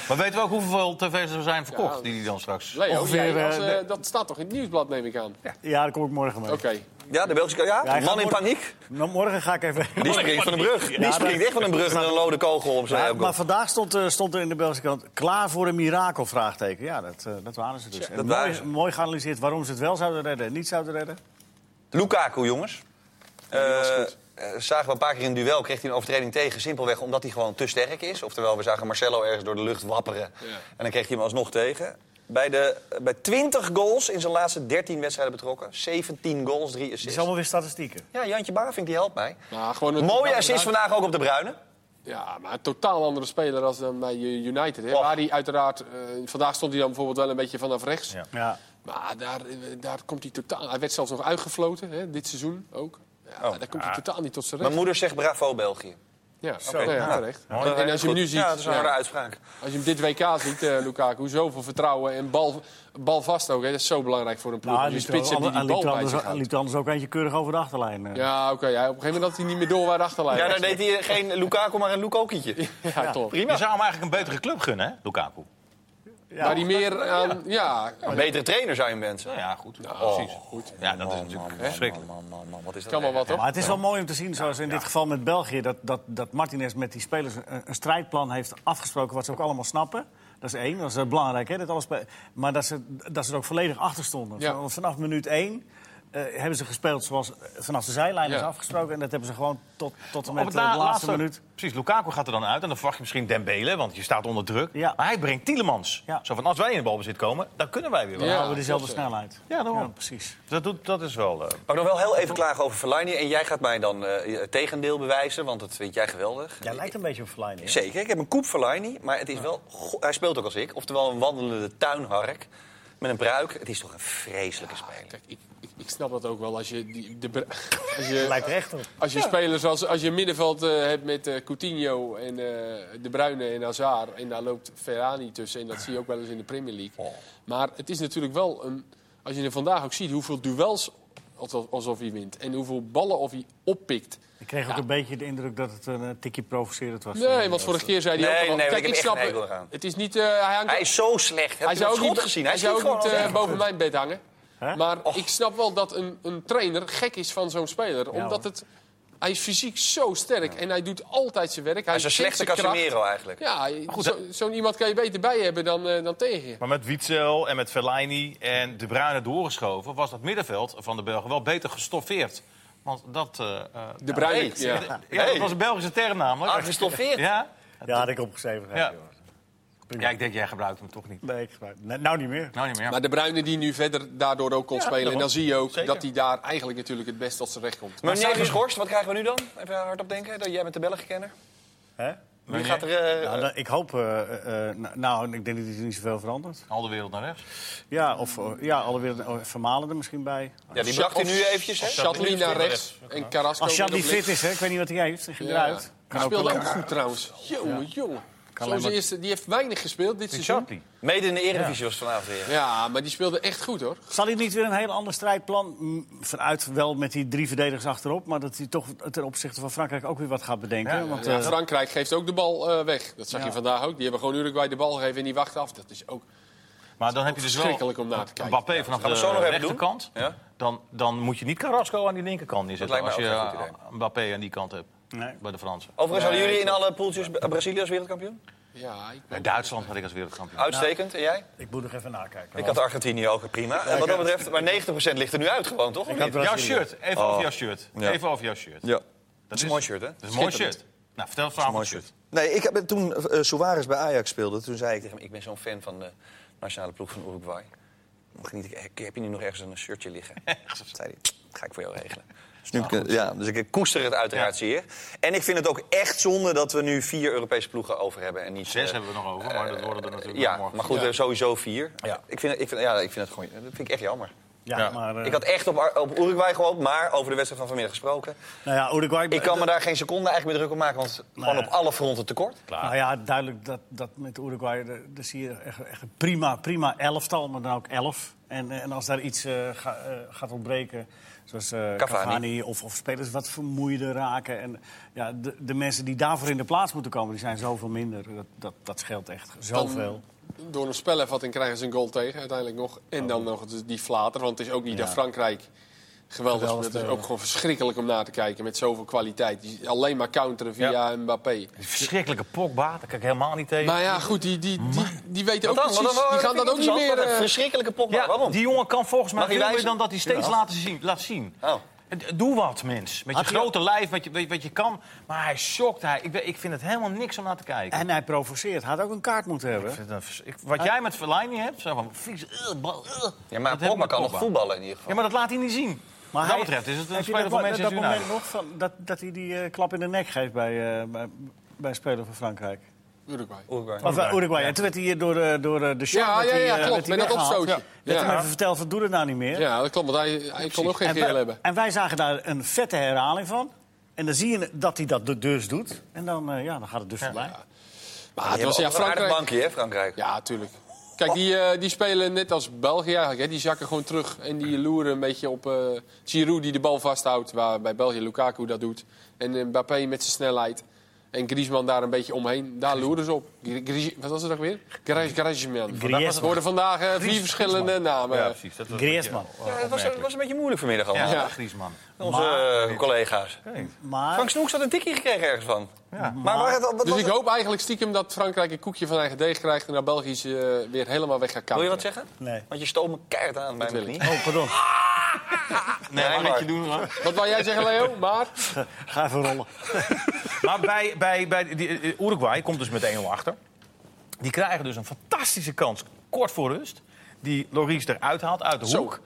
Speaker 2: Maar weten we ook hoeveel tv's er zijn verkocht die die dan straks...
Speaker 4: Leo,
Speaker 3: Ongeveer,
Speaker 4: jij als,
Speaker 3: eh,
Speaker 4: eh,
Speaker 3: de-
Speaker 4: dat staat toch in het nieuwsblad, neem ik aan?
Speaker 3: ja, daar kom ik morgen mee.
Speaker 4: Oké.
Speaker 1: Ja, de Belgische... Ja,
Speaker 3: Ja, hij gaat
Speaker 1: man in
Speaker 3: morgen-
Speaker 1: paniek.
Speaker 3: Nou, morgen ga ik even...
Speaker 1: Die springt van de brug. Die
Speaker 3: Ja,
Speaker 1: springt
Speaker 3: dat-
Speaker 1: echt van een brug met een lode kogel op zijn
Speaker 3: Ja,
Speaker 1: elbow.
Speaker 3: maar vandaag stond, eh, stond er in de Belgische krant... klaar voor een mirakel, vraagteken. Ja, dat, eh, dat waren ze dus. En
Speaker 1: dat
Speaker 3: mooi,
Speaker 1: waren ze.
Speaker 3: mooi geanalyseerd waarom ze het wel zouden redden en niet zouden redden.
Speaker 1: Lukaku, jongens.
Speaker 4: die was
Speaker 1: Eh,
Speaker 4: goed.
Speaker 1: eh, zagen we een paar keer in een duel, kreeg hij een overtreding tegen. Simpelweg omdat hij gewoon te sterk is. Oftewel, we zagen Marcelo ergens door de lucht wapperen.
Speaker 4: Ja.
Speaker 1: En dan kreeg hij hem alsnog tegen. Bij, de, eh, bij 20 goals in zijn laatste 13 wedstrijden betrokken. 17 goals, 3
Speaker 3: Het
Speaker 1: assists.
Speaker 3: is allemaal weer statistieken.
Speaker 1: Ja, Jantje Bavink, die helpt mij.
Speaker 4: Nou, gewoon een
Speaker 1: Mooie
Speaker 4: totaal-
Speaker 1: assist vandaag ook op de Bruine.
Speaker 4: Ja, maar een totaal andere speler als dan bij United. Hè?
Speaker 1: Och.
Speaker 4: Waar hij uiteraard... eh, vandaag stond hij dan bijvoorbeeld wel een beetje vanaf rechts.
Speaker 2: Ja.
Speaker 3: Ja.
Speaker 4: Maar daar, eh, daar komt hij totaal... Hij werd zelfs nog
Speaker 1: Oh.
Speaker 4: uitgefloten, hè? dit seizoen ook. Ja, daar komt hij totaal niet tot zijn recht.
Speaker 1: Mijn moeder zegt bravo België.
Speaker 4: Ja,
Speaker 1: Ah. Zo,
Speaker 4: nee,
Speaker 1: nou,
Speaker 4: terecht.
Speaker 1: dat is
Speaker 4: En als je hem nu
Speaker 1: goed.
Speaker 4: ziet,
Speaker 1: Ja, dat is een
Speaker 4: ja.
Speaker 1: harde uitspraak.
Speaker 4: Als je hem dit WK ziet, eh Lukaku, zoveel vertrouwen en bal, bal vast ook. Hè. Dat is zo belangrijk voor een ploeg.
Speaker 3: Nou, hij
Speaker 4: je
Speaker 3: liep er-
Speaker 4: spits hebt dus die die
Speaker 3: hij liep
Speaker 4: bal
Speaker 3: er
Speaker 4: bij zich
Speaker 3: anders- hij
Speaker 4: houdt.
Speaker 3: liep er anders ook eentje keurig over de achterlijn. eh.
Speaker 4: Ja, oké. ja, op een gegeven moment had hij niet meer door waar de achterlijn
Speaker 1: Ja,
Speaker 4: was.
Speaker 1: daar deed hij geen Lukaku, maar een Lukokietje.
Speaker 4: Ja, klopt.
Speaker 2: Je zou hem eigenlijk een betere club gunnen, hè, Lukaku.
Speaker 3: Ja.
Speaker 4: Maar die meer aan... Ja,
Speaker 1: Een betere trainer zou je hem wensen.
Speaker 2: Nou ja, goed. precies.
Speaker 4: goed.
Speaker 2: Ja, dat is natuurlijk verschrikkelijk.
Speaker 1: Man, man, man, wat is dat?
Speaker 4: Kan wel wat,
Speaker 3: Maar
Speaker 4: hoor.
Speaker 3: het is wel mooi om te zien, zoals in dit geval met België, dat, dat, dat Martinez met die spelers een, een strijdplan heeft afgesproken, wat ze ook allemaal snappen. Dat is één, dat is eh, belangrijk. Hè, dat alles bij- maar dat ze, dat ze er ook volledig achter stonden.
Speaker 4: Ja.
Speaker 3: Want vanaf minuut één eh, hebben ze gespeeld zoals eh, vanaf de zijlijn is
Speaker 4: Ja.
Speaker 3: afgesproken. En dat hebben ze gewoon tot, tot en met
Speaker 2: Op
Speaker 3: eh,
Speaker 2: na-
Speaker 3: de laatste, minuut.
Speaker 2: Precies, Lukaku gaat er dan uit. En dan verwacht je misschien Dembele, want je staat onder druk.
Speaker 3: Ja.
Speaker 2: Maar hij brengt Tielemans.
Speaker 3: Ja.
Speaker 2: Zo van, als wij in de balbezit komen, dan kunnen wij weer wel.
Speaker 4: Ja.
Speaker 3: houden we dezelfde
Speaker 4: dat, eh,
Speaker 3: snelheid.
Speaker 2: ja, daarom.
Speaker 3: precies.
Speaker 2: Dus Dat, doet, dat is wel... eh,
Speaker 1: Maar nog wel heel even klagen over Fellaini. En jij gaat mij dan eh, het tegendeel bewijzen, want dat vind jij geweldig.
Speaker 3: Jij lijkt een beetje op Verleiding.
Speaker 1: Zeker, ik heb een koep Fellaini, maar het is wel... go- Hij speelt ook als ik, oftewel een wandelende tuinhark met een pruik. Het is toch een vreselijke speler.
Speaker 4: Kijk, ik, ik, ik snap dat ook wel. Als je, die, de, bre- als je,
Speaker 3: Lijkt er echt op.
Speaker 4: als je spelers als, als je een middenveld eh, hebt met eh, Coutinho en eh, De Bruyne en Hazard... en daar loopt Ferrani tussen en dat zie je ook wel eens in de Premier League. Maar het is natuurlijk wel een... Als je er vandaag ook ziet hoeveel duels alsof, alsof hij wint... en hoeveel ballen of hij oppikt...
Speaker 3: Ik kreeg ook een beetje de indruk dat het een eh, tikje provocerend was.
Speaker 4: Nee, want vorige keer zei hij
Speaker 1: Nee,
Speaker 4: ook al...
Speaker 1: nee,
Speaker 4: Kijk,
Speaker 1: ik heb
Speaker 4: ik
Speaker 1: echt
Speaker 4: snap
Speaker 1: een
Speaker 4: het.
Speaker 1: hekel eraan.
Speaker 4: Het is niet... eh, hij hangt
Speaker 1: Hij is zo slecht. Heb
Speaker 4: hij
Speaker 1: je dat
Speaker 4: zou ook
Speaker 1: schot
Speaker 4: niet,
Speaker 1: gezien?
Speaker 4: hij
Speaker 1: Hij
Speaker 4: zou
Speaker 1: schiet
Speaker 4: ook
Speaker 1: gewoon
Speaker 4: niet
Speaker 1: als
Speaker 4: eh,
Speaker 1: echt.
Speaker 4: boven mijn bed hangen.
Speaker 3: Hè?
Speaker 4: Maar ik snap wel dat een, een trainer gek is van zo'n speler. omdat het, hij is fysiek zo sterk en hij doet altijd zijn werk. Hij,
Speaker 1: Hij is een
Speaker 4: kent
Speaker 1: slechte
Speaker 4: zijn kracht.
Speaker 1: Casemiro eigenlijk.
Speaker 4: Ja,
Speaker 2: goed,
Speaker 4: zo- zo'n iemand kan je beter bij hebben dan, eh, dan tegen je.
Speaker 2: Maar met Witzel en met Fellaini en De Bruyne doorgeschoven... was dat middenveld van de Belgen wel beter gestoffeerd. Want dat... eh, eh,
Speaker 4: De Bruyne,
Speaker 1: weet.
Speaker 4: ja.
Speaker 2: ja, dat was een Belgische term namelijk.
Speaker 1: Aangestoffeerd.
Speaker 2: Ja?
Speaker 3: Ja, had ik opgeschreven.
Speaker 2: Ja.
Speaker 3: joh.
Speaker 2: ja, ik denk jij gebruikt hem toch niet.
Speaker 3: Nee, ik gebruik- Nee, nou niet meer.
Speaker 2: Nou, niet meer.
Speaker 4: Maar de Bruine die nu verder daardoor ook kon
Speaker 2: Ja,
Speaker 4: spelen. En
Speaker 2: daarom.
Speaker 4: dan zie je ook
Speaker 2: Zeker.
Speaker 4: dat hij daar eigenlijk natuurlijk het best tot zijn recht komt.
Speaker 1: Maar meneer geschorst, wat krijgen we nu dan? Even hardop denken, dat jij bent de Belgenkenner.
Speaker 3: Hè?
Speaker 1: Wie gaat er... eh,
Speaker 3: Nou, dan- ik hoop, eh, eh, eh, nou, nou, ik denk dat er niet zoveel verandert.
Speaker 2: Al de wereld naar rechts.
Speaker 3: Ja, of eh, ja, alle weer oh, vermalen er misschien bij.
Speaker 1: ja, die bracht hij nu eventjes, hè?
Speaker 4: Chatley naar rechts en Carrasco
Speaker 3: Als Chad
Speaker 4: middenop
Speaker 3: niet fit
Speaker 4: links.
Speaker 3: is, hè, ik weet niet wat hij heeft, ging
Speaker 4: Ja.
Speaker 3: eruit.
Speaker 4: Die speelde ook goed trouwens. Jongen, jongen. Zo'n
Speaker 3: maar-
Speaker 4: eerste, die heeft weinig gespeeld dit seizoen.
Speaker 2: Shapley.
Speaker 1: Mede in de Eredivisie was vanavond weer.
Speaker 4: Ja, maar die speelde echt goed hoor.
Speaker 3: Zal hij niet weer een heel ander strijdplan, mm, vanuit wel met die drie verdedigers achterop... maar dat hij toch ten opzichte van Frankrijk ook weer wat gaat bedenken?
Speaker 2: Ja,
Speaker 3: want,
Speaker 4: Ja,
Speaker 3: eh,
Speaker 4: Frankrijk geeft ook de bal eh, weg. Dat zag je vandaag ook. Die hebben gewoon Uruguay de bal gegeven en die wachten af. Dat is ook
Speaker 2: Maar dan heb je dus wel
Speaker 4: verschrikkelijk om naar te kijken.
Speaker 2: Mbappé vanaf
Speaker 1: Gaan
Speaker 2: de
Speaker 1: we zo nog even doen?
Speaker 2: rechterkant.
Speaker 1: Ja.
Speaker 2: Dan, dan moet je niet Carrasco aan die linkerkant neerzetten.
Speaker 1: lijkt
Speaker 2: Als
Speaker 1: mij
Speaker 2: je
Speaker 1: ook geen goed
Speaker 2: eh, Mbappé aan die kant hebt.
Speaker 3: Nee.
Speaker 2: Bij de Fransen.
Speaker 1: Overigens hadden jullie in alle poeltjes Bra- Brazilië als wereldkampioen?
Speaker 4: Nou. Ja, ik
Speaker 2: Bij Duitsland had ik als
Speaker 1: Ah,
Speaker 2: wereldkampioen.
Speaker 1: Uitstekend. En jij?
Speaker 3: ik moet nog even nakijken.
Speaker 1: Ik had Argentinië ook prima. En wat dat betreft, maar 90% ligt er nu uit gewoon, toch? Of niet?
Speaker 2: Jouw shirt. Even
Speaker 1: Oh.
Speaker 2: over jouw shirt.
Speaker 5: Ja.
Speaker 2: Even over jouw shirt.
Speaker 5: Ja.
Speaker 1: Dat is een mooi shirt, hè?
Speaker 2: Dat is een mooi shirt. Nou, vertel het verhaal van het shirt.
Speaker 5: Nee, ik heb, toen eh Suarez bij Ajax speelde, toen zei ik...
Speaker 1: Tegen hem, Ik ben zo'n fan van de nationale ploeg van Uruguay. Dan geniet ik, eh, heb je nu nog ergens een shirtje liggen? zei hij, ga ik voor jou regelen. Dus, nu, ja, dus ik koester het uiteraard zeer. En ik vind het ook echt zonde dat we nu vier Europese ploegen over hebben. En niet,
Speaker 2: Zes
Speaker 1: eh,
Speaker 2: hebben we nog over, maar dat worden er natuurlijk nog
Speaker 1: Ja,
Speaker 2: morgen.
Speaker 1: maar goed, eh, sowieso vier.
Speaker 2: Ja.
Speaker 1: Ik, vind, ik, vind, ja, ik vind het gewoon dat vind ik echt jammer.
Speaker 3: Ja,
Speaker 2: Ja.
Speaker 3: maar... eh,
Speaker 1: Ik had echt op, Ar- op Uruguay gehoopt, maar over de wedstrijd van vanmiddag gesproken.
Speaker 3: nou ja, Uruguay...
Speaker 1: Ik
Speaker 2: Eh,
Speaker 1: kan me daar geen seconde eigenlijk meer druk om maken, want
Speaker 2: Nou
Speaker 1: gewoon op alle fronten tekort.
Speaker 3: Nou ja, duidelijk dat, dat met Uruguay, daar- daar zie je echt, echt een prima, prima elftal, maar dan ook elf. En, eh, en als daar iets eh, ga- eh, gaat ontbreken, zoals eh, Cavani, of, of spelers wat vermoeider raken. En ja, de, de mensen die daarvoor in de plaats moeten komen, die zijn zoveel minder. Dat, dat, dat scheelt echt zoveel.
Speaker 4: Door een spelervatting krijgen ze een goal tegen uiteindelijk nog. En
Speaker 1: Oh.
Speaker 4: dan nog het- die flater. Want het is ook niet
Speaker 3: Ja.
Speaker 4: dat Frankrijk geweldig
Speaker 3: Geweldig
Speaker 4: is. Het is
Speaker 3: spelen.
Speaker 4: ook gewoon verschrikkelijk om naar te kijken met zoveel kwaliteit. Die- Alleen maar counteren via Mbappé.
Speaker 2: Die verschrikkelijke Pogba, daar kijk ik helemaal niet tegen.
Speaker 4: Maar ja, goed, die, die, die, die weten ook
Speaker 1: Wat dan?
Speaker 4: precies.
Speaker 1: Wat dan?
Speaker 4: die gaan
Speaker 1: vind
Speaker 4: dat
Speaker 1: ik
Speaker 4: ook niet
Speaker 1: interessant.
Speaker 4: meer...
Speaker 1: Wat een
Speaker 4: eh,
Speaker 1: verschrikkelijke pop.
Speaker 2: Ja,
Speaker 1: Waarom?
Speaker 2: Die jongen kan volgens mij
Speaker 1: Mag hij
Speaker 2: veel meer
Speaker 1: wijzen?
Speaker 2: dan dat hij steeds laat, zien, laat zien.
Speaker 1: Oh.
Speaker 2: Het- Doe wat, mens. Met je
Speaker 3: Had hij-
Speaker 2: grote lijf, met je, weet je wat je kan. Maar hij schokt. Hij, ik, ben- ik vind het helemaal niks om naar te
Speaker 1: Eh.
Speaker 2: kijken.
Speaker 3: En hij provoceert, had ook een kaart moeten
Speaker 2: Ik
Speaker 3: hebben.
Speaker 2: vind het een vers- ik- wat jij met Verlaine hebt, zo van vies, eh, bal, eh,
Speaker 1: Ja,
Speaker 2: dat
Speaker 1: maar
Speaker 2: heb ik
Speaker 1: Pogba
Speaker 2: met
Speaker 1: kan nog
Speaker 2: Pogba.
Speaker 1: voetballen in ieder geval.
Speaker 2: Ja, maar dat laat hij niet zien. wat dat
Speaker 3: hij-
Speaker 2: betreft is het een
Speaker 3: heb je
Speaker 2: speler
Speaker 3: dat
Speaker 2: voor
Speaker 3: mo-
Speaker 2: Manchester
Speaker 3: Dat moment
Speaker 2: United.
Speaker 3: nog van, dat, dat hij die eh, klap in de nek geeft bij, eh, bij, bij een speler van Frankrijk.
Speaker 4: Uruguay.
Speaker 1: Uruguay.
Speaker 3: Of eh, Uruguay. En toen werd hij hier door, eh, door eh, de show.
Speaker 4: Ja, ja, ja, klopt. Met dat opstootje.
Speaker 3: Dat
Speaker 4: Ja.
Speaker 3: hij hem even verteld van doe het nou niet meer.
Speaker 4: Ja, dat klopt. Want hij, hij kon ook geen
Speaker 3: en, wij-
Speaker 4: geel hebben.
Speaker 3: en wij zagen daar een vette herhaling van. En dan zie je dat hij dat du- dus doet. En dan, eh, ja, dan gaat het dus voorbij.
Speaker 4: Maar het
Speaker 1: Die
Speaker 4: was
Speaker 1: hebben
Speaker 4: ja,
Speaker 1: ook wel een aardig
Speaker 4: Frankrijk.
Speaker 1: bankje, hè, Frankrijk.
Speaker 4: Ja, tuurlijk. Kijk, die, eh, die spelen net als België eigenlijk. Hè. Die zakken gewoon terug en die loeren een beetje op eh Giroud die de bal vasthoudt. Waar bij België Lukaku dat doet. En eh, Mbappé met zijn snelheid. En Griezmann daar een beetje omheen. Daar loeren ze op. Gri- Gri- wat was het ook weer? Grijs- Griezmann.
Speaker 3: Griezmann.
Speaker 4: We hoorden vandaag eh, vier verschillende namen.
Speaker 2: Ja, precies. Dat was
Speaker 3: Griezmann.
Speaker 2: een beetje, eh,
Speaker 1: Ja, het was, het
Speaker 2: opmerkelijk.
Speaker 1: was een beetje moeilijk vanmiddag al.
Speaker 2: Ja,
Speaker 4: Ja.
Speaker 2: Griezmann.
Speaker 1: Onze eh, collega's.
Speaker 3: Maar
Speaker 1: Frank Snoeks had een tikkie gekregen ergens van. Maar waar het, wat,
Speaker 4: Dus
Speaker 1: wat-
Speaker 4: ik hoop eigenlijk stiekem dat Frankrijk een koekje van eigen deeg krijgt... en dat België ze, eh, weer helemaal weg gaat
Speaker 1: Wil je
Speaker 4: counteren.
Speaker 1: wat zeggen?
Speaker 3: Nee.
Speaker 1: Want je stoot me keihard aan bij
Speaker 4: wil
Speaker 1: mijn
Speaker 4: ik.
Speaker 1: knie.
Speaker 3: Oh, pardon.
Speaker 2: Nee,
Speaker 1: Ja,
Speaker 2: maar
Speaker 1: maar-
Speaker 2: wat je doen, hoor.
Speaker 4: Wat wou jij zeggen, Leo? Maar...
Speaker 3: Ga even rollen.
Speaker 2: Maar bij, bij, bij die, eh, Uruguay komt dus met 1-0 achter. Die krijgen dus een fantastische kans kort voor rust. Die Loris eruit haalt uit de
Speaker 4: Zo.
Speaker 2: hoek.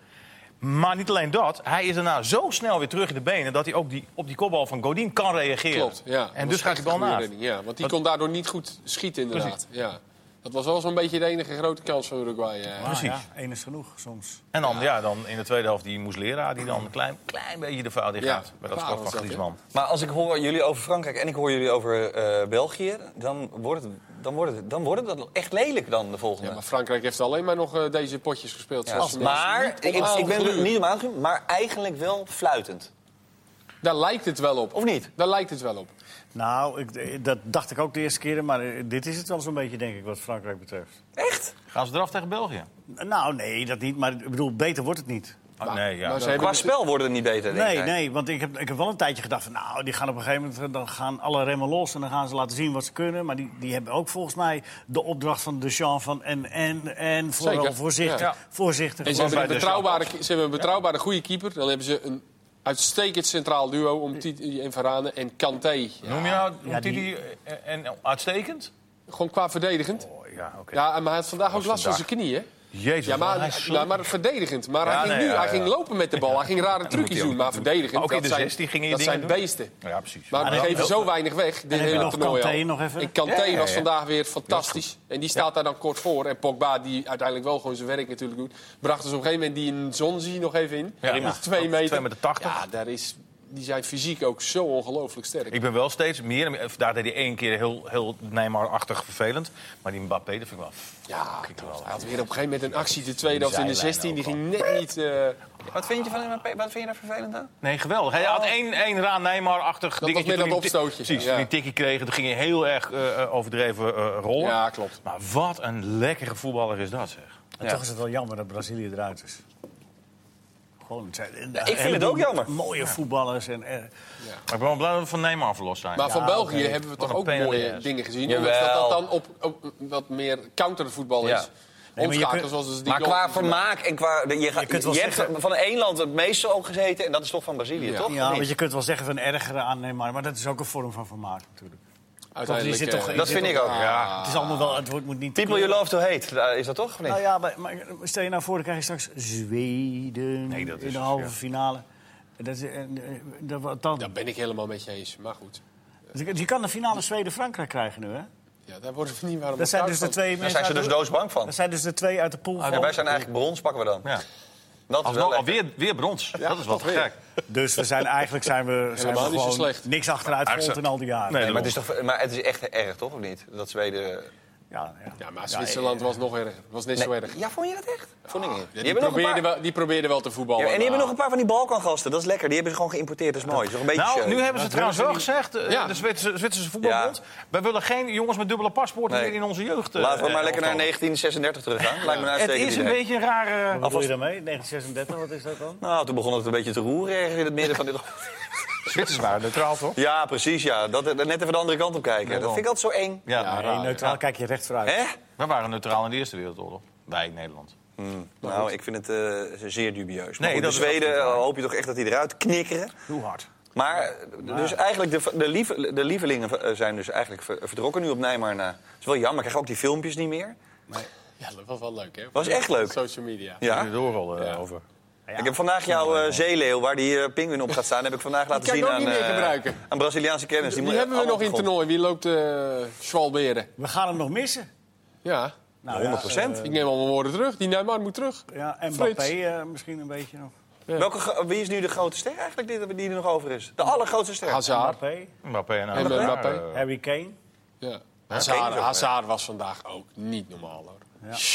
Speaker 2: Maar niet alleen dat, hij is daarna zo snel weer terug in de benen dat hij ook die, op die kopbal van Godin kan reageren.
Speaker 4: Klopt, ja.
Speaker 2: En
Speaker 4: Dat
Speaker 2: dus
Speaker 4: was
Speaker 2: gaat
Speaker 4: echt
Speaker 2: hij
Speaker 4: een
Speaker 2: bal
Speaker 4: goede
Speaker 2: naast.
Speaker 4: redding, Ja, want die
Speaker 2: Wat-
Speaker 4: kon daardoor niet goed schieten, inderdaad. Ja. Dat was wel zo'n beetje de enige grote kans van Uruguay. eh.
Speaker 3: Ah,
Speaker 2: Precies.
Speaker 3: ja, één is genoeg soms.
Speaker 2: En dan, ja, dan in de tweede helft die Moesleraar die dan een klein, klein beetje de fout in
Speaker 4: Ja,
Speaker 2: gaat. bij dat
Speaker 4: waar
Speaker 2: schot
Speaker 4: was
Speaker 2: van
Speaker 4: dat,
Speaker 2: Griezmann.
Speaker 1: Maar als ik hoor jullie over Frankrijk en ik hoor jullie over eh, België... Dan wordt, het, dan, wordt het, dan wordt het echt lelijk dan de volgende.
Speaker 4: Ja, maar Frankrijk heeft alleen maar nog eh, deze potjes gespeeld. zoals ze
Speaker 1: maar
Speaker 4: mensen
Speaker 1: ik,
Speaker 4: niet om
Speaker 1: ik ben er
Speaker 4: aangegluurd.
Speaker 1: niet om aangegluurd, maar eigenlijk wel fluitend.
Speaker 4: Daar lijkt het wel op.
Speaker 1: Of niet?
Speaker 4: Daar lijkt het wel op.
Speaker 3: Nou, ik, eh, dat dacht ik ook de eerste keer. Maar eh, dit is het wel zo'n beetje, denk ik, wat Frankrijk betreft.
Speaker 1: Echt?
Speaker 2: Gaan ze eraf tegen België?
Speaker 3: Nou, nee, dat niet. Maar ik bedoel, beter wordt het niet.
Speaker 2: Oh, nee, ja.
Speaker 4: maar ze
Speaker 1: Qua
Speaker 4: hebben het-
Speaker 1: spel worden het niet beter, denk
Speaker 3: Nee,
Speaker 1: ik.
Speaker 3: nee, want ik heb, ik heb wel een tijdje gedacht van, nou, die gaan op een gegeven moment, eh, dan gaan alle remmen los en dan gaan ze laten zien wat ze kunnen. Maar die, die hebben ook volgens mij de opdracht van Deschamps van en, en, en, vooral
Speaker 4: Zeker,
Speaker 3: voorzichtig,
Speaker 4: ja.
Speaker 3: voorzichtig.
Speaker 4: en ze,
Speaker 3: Want-
Speaker 4: hebben een
Speaker 2: bij de
Speaker 4: betrouwbare, ze hebben een betrouwbare goede keeper. Dan hebben ze een uitstekend centraal duo om Titi en Varane en Kanté. Ja,
Speaker 2: Noem je nou
Speaker 3: Ja, die-
Speaker 2: Titi eh, en, uitstekend?
Speaker 4: Gewoon qua verdedigend.
Speaker 2: Oh, ja, oké.
Speaker 4: Ja, en maar hij had vandaag ook last van zijn
Speaker 2: vandaag.
Speaker 4: knieën.
Speaker 2: Jezus,
Speaker 4: Ja, maar,
Speaker 2: wat hij
Speaker 4: nou,
Speaker 2: sloeg.
Speaker 4: maar verdedigend. Maar
Speaker 2: Ja,
Speaker 4: hij, ging,
Speaker 2: nee,
Speaker 4: nu,
Speaker 2: ja,
Speaker 4: hij
Speaker 2: ja.
Speaker 4: ging lopen met de bal. Hij ging rare trucjes
Speaker 2: hij ook
Speaker 4: doen. Maar
Speaker 2: niet doen.
Speaker 4: verdedigend,
Speaker 2: Maar ook in
Speaker 4: dat
Speaker 2: de
Speaker 4: zijn,
Speaker 2: 16 gingen je
Speaker 4: dat
Speaker 2: dingen
Speaker 4: zijn
Speaker 2: doen.
Speaker 4: beesten.
Speaker 2: Ja, precies.
Speaker 4: Maar die
Speaker 3: dan-
Speaker 4: geven zo weinig weg. Dit
Speaker 3: heb je
Speaker 4: hele
Speaker 3: nog
Speaker 4: toernooi
Speaker 3: Kanté
Speaker 4: al.
Speaker 3: nog even?
Speaker 4: En Kanté
Speaker 2: Ja, ja, ja.
Speaker 4: was vandaag weer fantastisch. En die staat daar dan kort voor. En Pogba, die uiteindelijk wel gewoon zijn werk natuurlijk doet... bracht dus op een gegeven moment die in Zonzi nog even in.
Speaker 2: Ja,
Speaker 4: Die
Speaker 2: ja.
Speaker 4: is twee meter.
Speaker 2: Twee meter tachtig.
Speaker 4: Ja, daar is, die zijn fysiek ook zo ongelooflijk sterk.
Speaker 2: Ik ben wel steeds meer. Daar deed hij één keer heel, heel Neymar-achtig vervelend. Maar die Mbappé, dat vind ik wel.
Speaker 4: ja,
Speaker 2: ik wel.
Speaker 4: hij had weer op een gegeven moment een actie. De tweede of in de
Speaker 2: zijlijn
Speaker 4: 16, die
Speaker 2: ook
Speaker 4: ging net niet... eh,
Speaker 1: Wat vind je van Mbappé? Wat vind je daar vervelend aan?
Speaker 2: Nee, geweldig. Hij
Speaker 1: Oh.
Speaker 2: had één, één raar Neymar-achtig
Speaker 4: was
Speaker 2: dingetje
Speaker 4: meer
Speaker 2: toen
Speaker 4: dat
Speaker 2: hij ti-
Speaker 4: opstootje.
Speaker 2: Precies,
Speaker 4: Ja.
Speaker 2: toen die tikkie kreeg. Toen ging hij heel erg eh, eh, overdreven eh, rollen.
Speaker 4: Ja, klopt.
Speaker 2: Maar wat een lekkere voetballer is dat, zeg.
Speaker 3: En toch is het wel jammer dat Brazilië eruit is. Gewoon, het zijn-
Speaker 1: ik vind
Speaker 3: heel
Speaker 1: het
Speaker 3: veel
Speaker 1: ook jammer.
Speaker 3: Mooie voetballers en... eh,
Speaker 2: Maar ik ben wel blij dat we van Neymar verlost zijn.
Speaker 4: Maar van België
Speaker 3: oké.
Speaker 4: hebben we
Speaker 2: Wat
Speaker 4: toch
Speaker 2: een
Speaker 4: ook
Speaker 2: pijn aan de
Speaker 4: mooie
Speaker 2: rest.
Speaker 4: dingen gezien.
Speaker 1: Jawel.
Speaker 4: Ondanks dat dat dan op, op wat meer countervoetbal
Speaker 1: Ja.
Speaker 4: is.
Speaker 3: maar je
Speaker 4: Omschakelen
Speaker 3: kunt-
Speaker 4: zoals dus die
Speaker 1: Maar
Speaker 4: goal-
Speaker 1: qua vermaak en qua... de- Je, gaat,
Speaker 3: Je kunt wel
Speaker 1: je hebt
Speaker 3: zeggen-
Speaker 1: van één land het meeste ook gezeten en dat is toch van Brazilië,
Speaker 4: Ja.
Speaker 1: toch?
Speaker 3: ja,
Speaker 1: Of niet?
Speaker 3: want je kunt wel zeggen van ergeren aan Neymar, maar dat is ook een vorm van vermaak natuurlijk.
Speaker 4: Uiteindelijk,
Speaker 3: Want die zit
Speaker 4: eh,
Speaker 1: dat vind ik ook. Ja.
Speaker 3: Het is allemaal wel, het wordt moet niet...
Speaker 1: People you love to hate, eh, is dat toch? Of niet?
Speaker 3: Nou ja, maar, maar stel je nou voor, dan krijg je straks Zweden
Speaker 2: Nee, dat is
Speaker 3: in de
Speaker 2: het,
Speaker 3: halve
Speaker 2: ja.
Speaker 3: finale. Dat, is- en, eh, dat, wat dan?
Speaker 4: Daar ben ik helemaal met je eens. Maar goed,
Speaker 3: Dus Je kan de finale Zweden-Frankrijk krijgen nu, hè?
Speaker 4: ja, daar worden we niet waarom
Speaker 3: Dat zijn dus de
Speaker 4: elkaar
Speaker 3: twee
Speaker 1: Daar
Speaker 3: mensen
Speaker 1: zijn ze
Speaker 3: uit
Speaker 1: dus
Speaker 3: de,
Speaker 1: doodsbang van.
Speaker 3: dat zijn dus de twee uit de pool.
Speaker 1: Ja,
Speaker 3: van-
Speaker 1: wij zijn eigenlijk brons, pakken we dan.
Speaker 2: Ja.
Speaker 1: Dat is wel
Speaker 2: Alsnog,
Speaker 1: lekker.
Speaker 2: alweer weer brons. dat is wat
Speaker 4: toch weer.
Speaker 2: gek.
Speaker 3: Dus we zijn eigenlijk zijn we, zijn we
Speaker 4: niet zo
Speaker 3: gewoon
Speaker 4: slecht.
Speaker 3: niks achteruit geholpen in al die jaren.
Speaker 2: Nee,
Speaker 1: Nee, maar, het is toch, maar het is echt erg, toch? Of niet? Dat Zweden...
Speaker 3: Ja, ja.
Speaker 4: Ja, maar Zwitserland was nog erger. Was net zo erg. Ja,
Speaker 1: Ja, vond je dat echt? Vond ik niet. Die
Speaker 4: die,
Speaker 1: hebben nog een
Speaker 4: probeerden
Speaker 1: paar-
Speaker 4: wel, die probeerden wel te voetballen.
Speaker 2: Oh, nou.
Speaker 1: Ja, en die hebben nog
Speaker 4: maar-
Speaker 1: een paar van die Balkangasten. Dat is lekker. Die hebben ze gewoon geïmporteerd. Dat is mooi. Dat is toch een beetje
Speaker 2: Nou,
Speaker 1: show.
Speaker 2: nu hebben ze trouwens wel gezegd, eh,
Speaker 4: Ja.
Speaker 2: de Zwitserse, Zwitserse voetbalbond... wij willen geen jongens met dubbele paspoorten
Speaker 1: Nee.
Speaker 2: meer in onze jeugd. eh,
Speaker 1: Laten we maar
Speaker 2: eh,
Speaker 1: lekker naar
Speaker 2: opvallen.
Speaker 1: 1936 teruggaan. Lijkt me nou een
Speaker 2: Het
Speaker 1: uitstekend
Speaker 2: is een
Speaker 1: idee.
Speaker 2: beetje een rare...
Speaker 3: Wat bedoel je daarmee? 1936, wat is dat dan?
Speaker 1: Nou, toen begon het een beetje te roeren ergens in het midden van dit...
Speaker 2: Zwitsers waren neutraal, toch?
Speaker 1: Ja, precies, ja. Dat, net even de andere kant op kijken. Dat vind ik altijd zo eng.
Speaker 2: Ja,
Speaker 4: Ja,
Speaker 2: maar
Speaker 3: Nee, neutraal kijk je recht vooruit.
Speaker 1: Hè?
Speaker 2: we waren neutraal in de Eerste Wereldoorlog. Wij, Nederland.
Speaker 1: Nou, ik vind het eh, zeer dubieus. Maar
Speaker 2: Nee,
Speaker 1: goed,
Speaker 2: dat
Speaker 1: de
Speaker 2: is
Speaker 1: Zweden
Speaker 2: absoluut waar.
Speaker 1: eh, hoop je toch echt dat die eruit knikkeren.
Speaker 3: Hoe hard?
Speaker 1: Maar, eh, dus eigenlijk, de, de, lief, de lievelingen eh, zijn dus eigenlijk ver- vertrokken nu op Nijmegen. na. Dat is wel jammer, ik krijg ook die filmpjes niet meer.
Speaker 4: Ja, dat was wel leuk, hè?
Speaker 1: Was echt leuk.
Speaker 4: Social media.
Speaker 1: Ja. dus
Speaker 2: Ja. Doorrollen eh, over.
Speaker 1: Ik heb vandaag jouw eh, zeeleeuw, waar die eh, pinguïn op gaat staan, heb ik vandaag laten
Speaker 4: kan ik
Speaker 1: zien
Speaker 4: ook
Speaker 1: aan,
Speaker 4: niet meer
Speaker 1: eh,
Speaker 4: gebruiken.
Speaker 1: aan Braziliaanse kennis.
Speaker 4: Die
Speaker 1: moet-
Speaker 4: hebben we nog in
Speaker 1: allemaal
Speaker 4: het toernooi. Wie loopt eh Schwalberen?
Speaker 3: We gaan hem nog missen.
Speaker 4: Ja,
Speaker 3: Nou,
Speaker 1: 100%.
Speaker 3: Ja,
Speaker 4: ik neem al mijn woorden terug. Die Neymar moet terug.
Speaker 3: eh, ja, en
Speaker 4: Frits.
Speaker 3: Mbappé eh, misschien een beetje nog.
Speaker 1: Welke, ge- wie is nu de grote ster eigenlijk dit, die er nog over is? De allergrootste ster.
Speaker 4: Hazard.
Speaker 3: Mbappé,
Speaker 2: Mbappé en
Speaker 4: En
Speaker 2: Hazard,
Speaker 4: Mbappé.
Speaker 2: eh,
Speaker 3: Harry Kane.
Speaker 4: Ja.
Speaker 1: Kane
Speaker 4: Hazard,
Speaker 1: is ook,
Speaker 4: Hazard was vandaag ook niet normaal hoor.